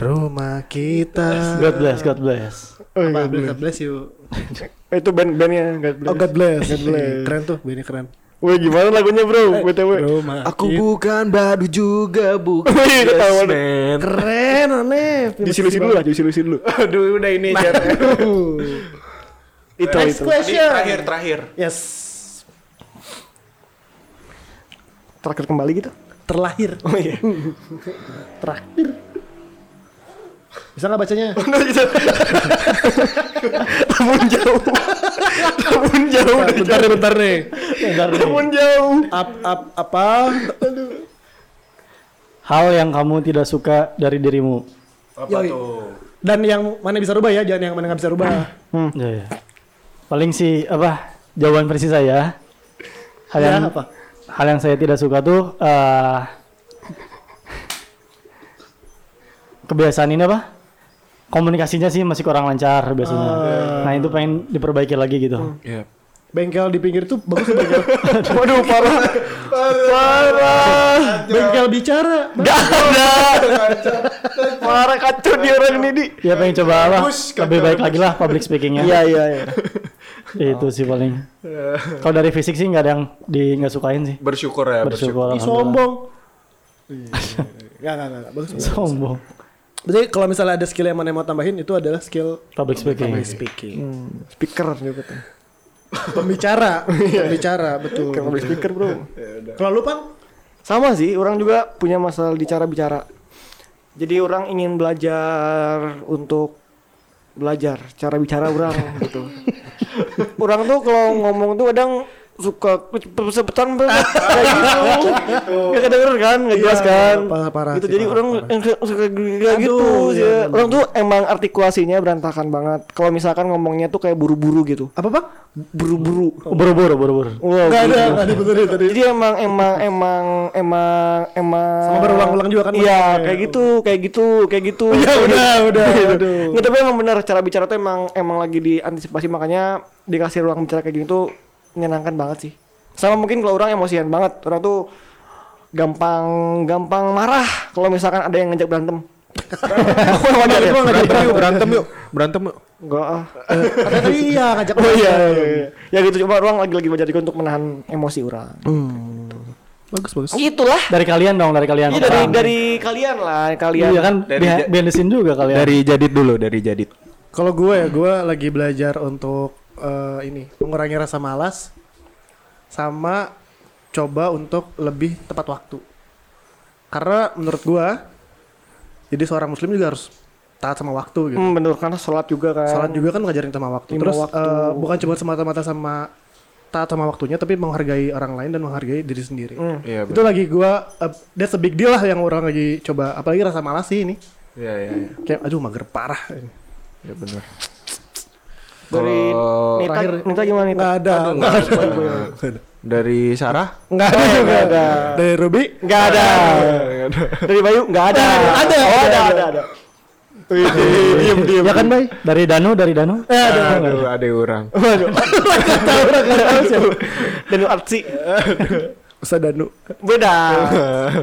S1: Rumah kita.
S4: God bless, God bless.
S3: Oh,
S1: Apa,
S3: God bless.
S1: God bless you.
S3: Eh, Itu band-bandnya God bless.
S1: Oh God bless.
S3: God bless.
S1: Keren tuh, ini keren.
S3: Weh gimana lagunya Eh, bro? BTW.
S1: Rumah.
S2: Aku bukan baru juga bukan
S3: Wih, ketahuan.
S2: man.
S1: Keren, aneh.
S3: Disilusi dulu lah, disilusi dulu.
S2: Aduh, udah ini aja.
S3: itu
S1: Next
S3: itu.
S2: Ini
S1: question.
S2: terakhir terakhir.
S1: Yes.
S3: Terakhir kembali gitu.
S1: Terlahir.
S3: Oh iya.
S1: Terakhir. Bisa nggak bacanya?
S3: Oh, Temun jauh. Temun jauh. dari
S1: bentar nih, bentar nih.
S4: Bentar
S3: jauh.
S4: nih.
S3: Temun jauh.
S1: Up, up, apa?
S4: Hal yang kamu tidak suka dari dirimu.
S2: Apa
S1: Yoi.
S2: tuh?
S1: Dan yang mana bisa rubah ya, jangan yang mana nggak bisa rubah.
S3: Hmm.
S4: Ya, ya. Paling sih apa jawaban versi saya. Hal
S1: Ya,
S4: yang
S1: apa?
S4: Hal yang saya tidak suka tuh eh, kebiasaan ini apa? Komunikasinya sih masih kurang lancar biasanya.
S3: Ah.
S4: Nah itu pengen diperbaiki lagi
S3: Hmm.
S4: gitu.
S2: Yep.
S1: Bengkel di pinggir tuh bagus tuh bengkel.
S3: Waduh parah. parah.
S1: bengkel bicara.
S3: Gak ada. parah kacau di orang ini di.
S4: Ya pengen coba apa?
S2: Bagus,
S4: Lebih baik lagi lah public speakingnya.
S3: Iya iya iya.
S4: Itu sih paling. Kalau dari fisik sih nggak ada yang di nggak sukain sih.
S2: Bersyukur ya bersyukur.
S4: Bersyukur.
S1: Ih,
S4: alhamdulillah.
S1: sombong. Gak, gak, gak, gak. Iya, Bagus.
S4: Sombong.
S1: Jadi kalau misalnya ada skill yang mana yang mau tambahin itu adalah skill
S4: Public speaking.
S1: speaking.
S3: Speaker juga tuh.
S1: Pembicara, pembicara, betul.
S3: Kan beli
S1: Iya,
S3: speaker bro.
S1: Kalau lu Pan?
S3: Sama sih, orang juga punya masalah di cara bicara. Jadi orang ingin belajar untuk belajar cara bicara orang gitu. orang tuh kalau ngomong tuh kadang suka sebetan kayak gitu. Gak kedengeran kan, gak jelas
S1: Ah, Iya,
S3: kan.
S1: parah, parah
S3: gitu
S1: sih,
S3: jadi
S1: parah,
S3: orang yang suka kayak gitu
S1: Aduh,
S3: sih.
S1: iya,
S3: Orang tuh emang artikulasinya berantakan banget. Kalau misalkan ngomongnya tuh kayak buru-buru gitu.
S1: Apa Pak?
S3: Buru-buru.
S4: Buru-buru, buru-buru.
S3: Wow,
S1: Gak ada,
S3: buru-buru.
S1: gak dibenerin tadi.
S3: Jadi emang emang emang emang emang
S1: Sama berulang-ulang juga kan,
S3: Iya,
S1: maksudnya.
S3: kayak gitu, kayak gitu, kayak gitu. Iya.
S1: Ya udah, udah, aduh.
S3: Nggak, tapi emang benar cara bicara tuh emang emang lagi diantisipasi makanya dikasih ruang bicara kayak gini tuh menyenangkan banget sih. Sama mungkin kalau orang emosian banget, orang tuh gampang gampang marah kalau misalkan ada yang ngajak berantem.
S2: Aku yang ngajak gua ngajak berantem yuk, berantem yuk, berantem yuk.
S3: Enggak. ah.
S1: Katanya tadi iya ngajak
S3: Oh iya,
S1: berantem.
S3: iya, iya. Ya gitu cuma ruang lagi-lagi belajar juga untuk menahan emosi orang.
S1: Hmm. Bagus bagus.
S3: Gitulah.
S4: Dari kalian dong, dari kalian.
S3: Iya dari
S4: orang.
S3: dari kalian lah, kalian.
S4: Iya kan
S2: Dari
S4: behind
S2: ja-
S4: behind the scene juga kalian.
S2: Dari jadit dulu, dari jadit.
S1: Kalau gue ya gue lagi belajar untuk eh, ini mengurangi rasa malas sama coba untuk lebih tepat waktu. Karena menurut gue jadi seorang muslim juga harus taat sama waktu gitu.
S3: Hmm, bener karena sholat juga kan.
S1: Salat juga kan ngajarin sama waktu.
S3: Lima
S1: Terus
S3: waktu.
S1: eh, bukan cuma semata-mata sama taat sama waktunya, tapi menghargai orang lain dan menghargai diri sendiri.
S3: Hmm.
S2: Iya,
S1: Itu lagi gua eh, that's a big deal lah yang orang lagi coba. Apalagi rasa malas sih ini.
S2: Iya, iya, iya.
S1: Kayak aduh mager parah. ini.
S2: Ya benar.
S3: Dari
S2: Kalau-
S3: Nita,
S1: terakhir-
S3: Nita gimana Nita?
S1: Nggak ada. Nggak
S2: Dari Sarah?
S1: Nggak ada. Nggak ada. Dari Ruby?
S3: Nggak ada. Dari Bayu nggak ada.
S1: Ada,
S3: Oh ada ada ada. Wih, diem diem.
S4: Ya kan, Bay? Dari Danu, dari Danu.
S2: Aduh, ada orang.
S3: Waduh. ya. Dan artsy
S1: Ustaz Danu.
S3: beda.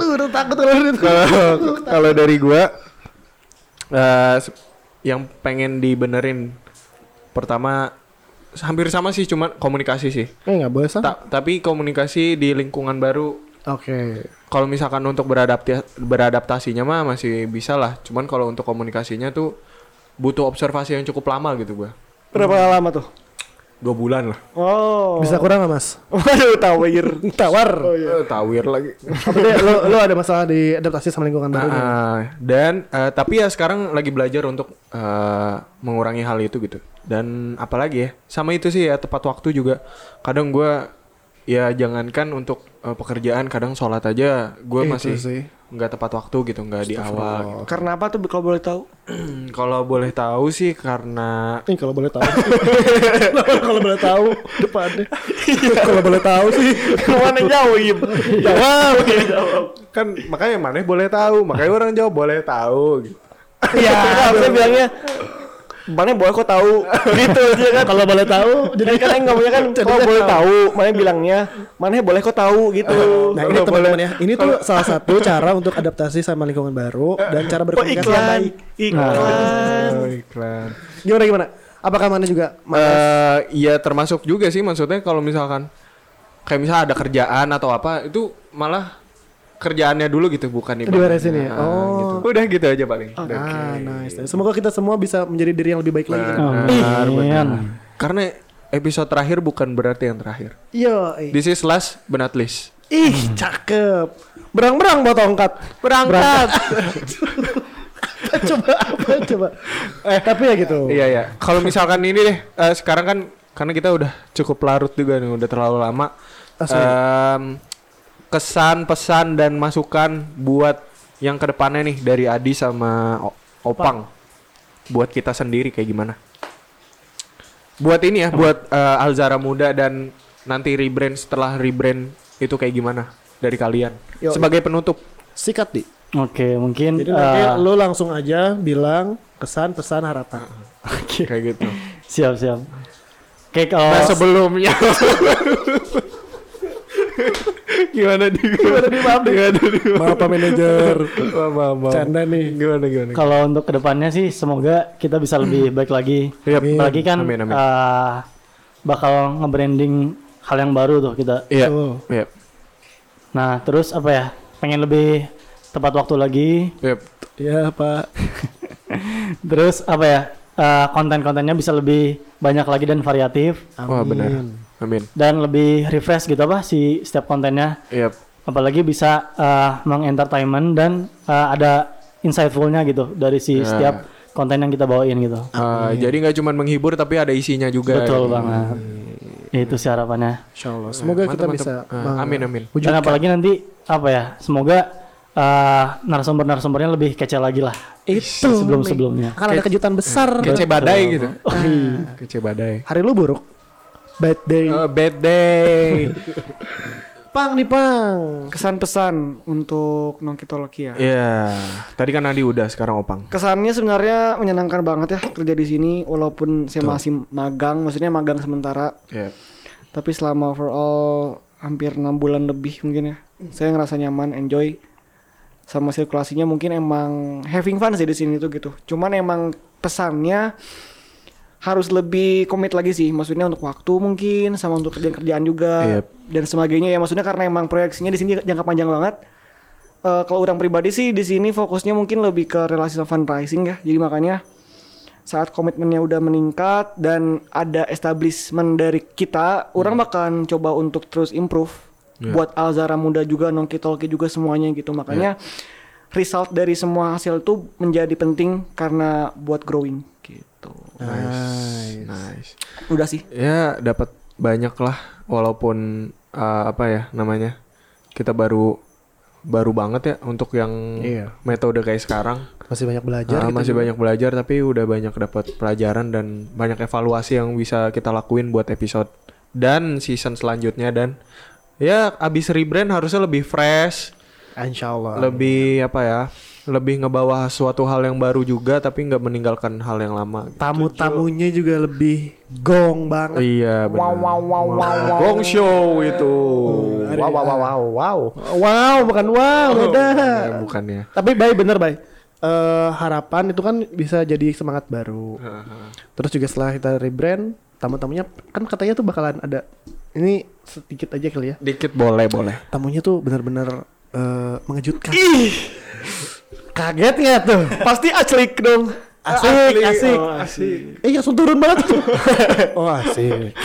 S1: Tuh udah takut kalau itu.
S2: Kalau kalau dari gua eh, se- yang pengen dibenerin pertama hampir sama sih cuman komunikasi sih.
S1: Eh nggak boleh sama.
S2: Ta- tapi komunikasi di lingkungan baru
S1: Oke.
S2: kalau misalkan untuk beradapti beradaptasinya mah masih bisa lah. Cuman kalau untuk komunikasinya tuh butuh observasi yang cukup lama gitu gua.
S3: Berapa lama tuh?
S2: Dua bulan lah.
S3: Oh.
S1: Bisa kurang nggak mas?
S3: Waduh tawir. Oh, iya.
S1: Tawar.
S2: Eh, tawir lagi.
S1: Apa deh, lo, lo ada masalah di adaptasi sama lingkungan baru? nih?
S2: Ah, dan eh, tapi ya sekarang lagi belajar untuk eh, mengurangi hal itu gitu. Dan apalagi ya, sama itu sih ya tepat waktu juga. Kadang gua ya jangankan untuk eh, pekerjaan, kadang sholat aja gue
S1: Itu
S2: masih
S1: Gitu sih.
S2: nggak tepat waktu gitu, nggak di awal. gitu. Hmm,
S3: Karena apa tuh kalau boleh tahu?
S2: Kalau boleh tahu sih karena
S1: Eh kalau boleh tahu. kalau boleh tahu depannya. kalau boleh tahu sih.
S3: Kemana jauh Im? Jawab. Im, Jawab.
S2: kan makanya mana boleh tahu, makanya orang jawab boleh tahu. Gitu.
S4: Iya,
S3: Ya. Saya bilangnya. Mana boleh kok tahu gitu aja kan.
S1: Kalau boleh tahu jadi
S3: Jadi kan ngomongnya kan kalau boleh tahu, mana bilangnya, mana boleh kok tahu gitu.
S1: Nah ini teman-teman ya, ini tuh salah satu cara untuk adaptasi sama lingkungan baru dan cara
S3: Oh,
S1: berkomunikasi yang
S3: iklan,
S1: baik. Nah,
S3: iklan.
S2: Oh, iklan.
S1: Gimana gimana? Apakah mana juga?
S2: eh ya termasuk juga sih maksudnya kalau misalkan kayak misalnya ada kerjaan atau apa itu malah kerjaannya dulu gitu bukan nih
S1: Diberesin ya?
S2: oh udah gitu aja paling
S1: Ah, nice. Semoga kita semua bisa menjadi diri yang lebih baik lagi. kan?
S2: Benar, benar.
S4: Amin.
S2: karena episode terakhir bukan berarti yang terakhir
S1: Yo, eh.
S2: this is last but not least
S1: ih cakep. Berang-berang bawa tongkat.
S2: berangkat
S1: coba apa coba? Eh, tapi ya gitu.
S2: iya ya kalau misalkan ini deh eh, sekarang kan karena kita udah cukup larut juga nih udah terlalu lama
S1: Asli.
S2: Em, kesan pesan dan masukan buat yang kedepannya nih dari Adi sama O- Opang buat kita sendiri kayak gimana buat ini ya buat eh, Alzara muda dan nanti rebrand setelah rebrand itu kayak gimana dari kalian
S1: Yo.
S2: sebagai penutup
S1: Sikat di.
S4: Oke, mungkin
S1: Jadi nanti
S2: Ah.
S4: eh,
S1: lo langsung aja bilang kesan, pesan, harapan.
S2: kayak gitu
S4: siap siap. Oke, kalau
S2: Nah, sebelumnya. gimana di gimana di maaf gimana di
S1: Maaf Pak manajer.
S2: maaf maaf, maaf.
S1: Canda nih.
S2: gimana gimana
S4: kalau untuk kedepannya sih semoga kita bisa lebih baik lagi.
S2: Yap.
S4: Apalagi kan
S2: Hmm. Amin, amin.
S4: eh, bakal nge-branding hal yang baru tuh kita.
S2: iya
S1: Tuh.
S2: iya
S4: Nah, terus apa ya? Pengen lebih tepat waktu lagi.
S2: iya
S1: Ya Pak.
S4: Terus apa ya? eh, konten-kontennya bisa lebih banyak lagi dan variatif
S2: wah benar amin
S4: dan lebih refresh gitu apa si setiap kontennya.
S2: iya
S4: apalagi bisa eh, mengentertainment dan eh, ada insightfulnya gitu dari
S2: Ya.
S4: si setiap konten yang kita bawain gitu.
S2: Eh, jadi nggak cuma menghibur tapi ada isinya juga ya.
S4: Betul banget. Itu sih harapannya.
S1: Insya Allah. Semoga
S2: Mantap,
S1: kita
S2: mantap.
S1: bisa.
S2: Eh,
S1: meng-
S2: amin amin
S4: Dan apalagi nanti apa ya? Semoga eh, narasumber-narasumbernya lebih kece lagi lah
S1: Itu.
S4: sebelum-sebelumnya.
S1: Akan ada kejutan besar.
S2: kece badai gitu kece badai
S1: Hari lu buruk. Bad day.
S2: Eh, bad day
S1: Pang nih pang.
S3: Kesan pesan untuk Nongkitologi ya.
S2: Iya, tadi kan Andi udah sekarang opang
S3: Kesannya sebenarnya menyenangkan banget ya kerja di sini walaupun saya masih magang, maksudnya magang sementara,
S2: iya
S3: tapi selama overall hampir enam bulan lebih mungkin ya. saya ngerasa nyaman enjoy sama sirkulasinya mungkin emang having fun sih di sini tuh gitu cuman emang pesannya harus lebih komit lagi sih maksudnya untuk waktu mungkin sama untuk kerjaan kerjaan juga
S2: Yep.
S3: dan sebagainya ya maksudnya karena emang proyeksinya di sini jangka panjang banget Eh, kalau orang pribadi sih di sini fokusnya mungkin lebih ke relasi sama fundraising ya jadi makanya saat komitmennya udah meningkat dan ada establishment dari kita, orang bakalan coba untuk terus improve buat Alzara muda juga, Nongki Tolki juga semuanya gitu. Makanya result dari semua hasil itu menjadi penting karena buat growing gitu.
S2: Nice, nice.
S3: Udah sih.
S2: Ya dapat banyak lah walaupun eh, apa ya namanya kita baru baru banget ya untuk yang
S1: Iya.
S2: metode kayak sekarang.
S1: Masih banyak belajar
S2: Ah,
S1: gitu.
S2: masih banyak belajar tapi udah banyak dapat pelajaran dan banyak evaluasi yang bisa kita lakuin buat episode dan season selanjutnya dan ya abis rebrand harusnya lebih fresh,
S1: Insya Allah.
S2: lebih apa ya, lebih ngebawa suatu hal yang baru juga tapi nggak meninggalkan hal yang lama.
S1: Tamu-tamunya juga lebih gong banget.
S2: Iya benar.
S3: Wow wow wow wow wow.
S2: Gong show itu.
S3: Wow wow wow wow. wow.
S1: Wow, bukan
S2: Oh,
S1: wow, beda.
S2: Bukannya, bukannya.
S1: Tapi baik bener baik. Eh, harapan itu kan bisa jadi semangat baru. Terus juga setelah kita rebrand, tamu-tamunya kan katanya tuh bakalan ada ini sedikit aja kali ya.
S2: Dikit boleh boleh.
S1: Tamunya tuh benar-benar eh, mengejutkan. Kaget nggak tuh?
S3: Pasti aslik dong.
S1: Asik, asik.
S2: oh.
S1: Eh langsung turun banget tuh. oh asik.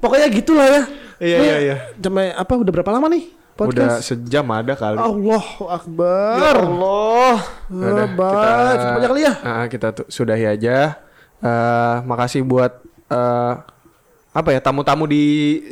S1: Pokoknya gitulah ya.
S2: Iya,
S1: Ini
S2: iya, iya.
S1: Sampai apa udah berapa lama nih
S2: Udah
S1: podcast? Oh,
S2: sejam ada kali. Ya
S1: Allah Akbar. Iya,
S3: Allah.
S2: Udah,
S1: Lebat.
S2: kita-
S1: Cukup aja Eh, kali ya.
S2: Ah, kita tu- sudahi aja. Eh, makasih buat eh, apa ya tamu-tamu di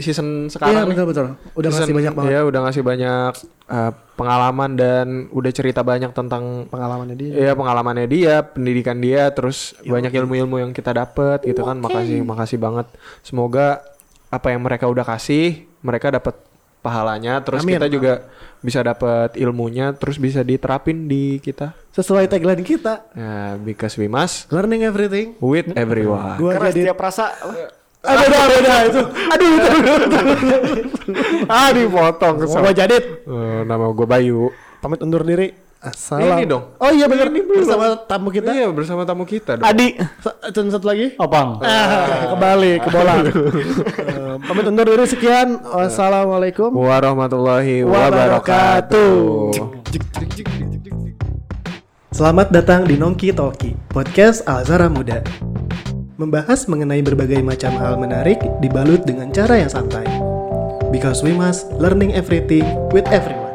S2: season
S1: Iya
S2: sekarang. nih.
S1: betul betul. Udah
S2: Season-
S1: ngasih banyak banget
S2: Iya, udah ngasih banyak eh, pengalaman dan udah cerita banyak tentang
S1: pengalamannya dia.
S2: Iya pengalamannya dia, pendidikan dia, terus banyak ilmu-ilmu yang kita dapat gitu kan. Makasih, makasih banget. Semoga apa yang mereka udah kasih, mereka dapat pahalanya. Terus
S1: Amin.
S2: kita juga bisa dapat ilmunya, terus bisa diterapin di kita.
S1: Sesuai tagline kita,
S2: Ya, because we must
S1: learning everything.
S2: with everyone.
S1: Gua
S3: Karena
S1: jadi
S3: setiap rasa
S1: Ah, beda beda itu. Aduh itu.
S2: ah, dipotong.
S1: Gua jadi
S2: Eh, nama gue Bayu.
S1: pamit undur diri. Assalam.
S2: Ini dong.
S1: Oh iya benar. Bersama tamu kita.
S2: Iya bersama tamu kita. Dong.
S3: Adi.
S1: Sa- Dan satu lagi.
S4: Opang.
S1: Ah, kembali ke bola. Eh, Pamit undur diri sekian.
S2: Iya.
S1: Wassalamualaikum.
S2: Warahmatullahi wabarakatuh.
S1: Wabarakatuh. Selamat datang di Nongki Talki, podcast Alzara Muda. Membahas mengenai berbagai macam hal menarik dibalut dengan cara yang santai. Because we must learning everything with everyone.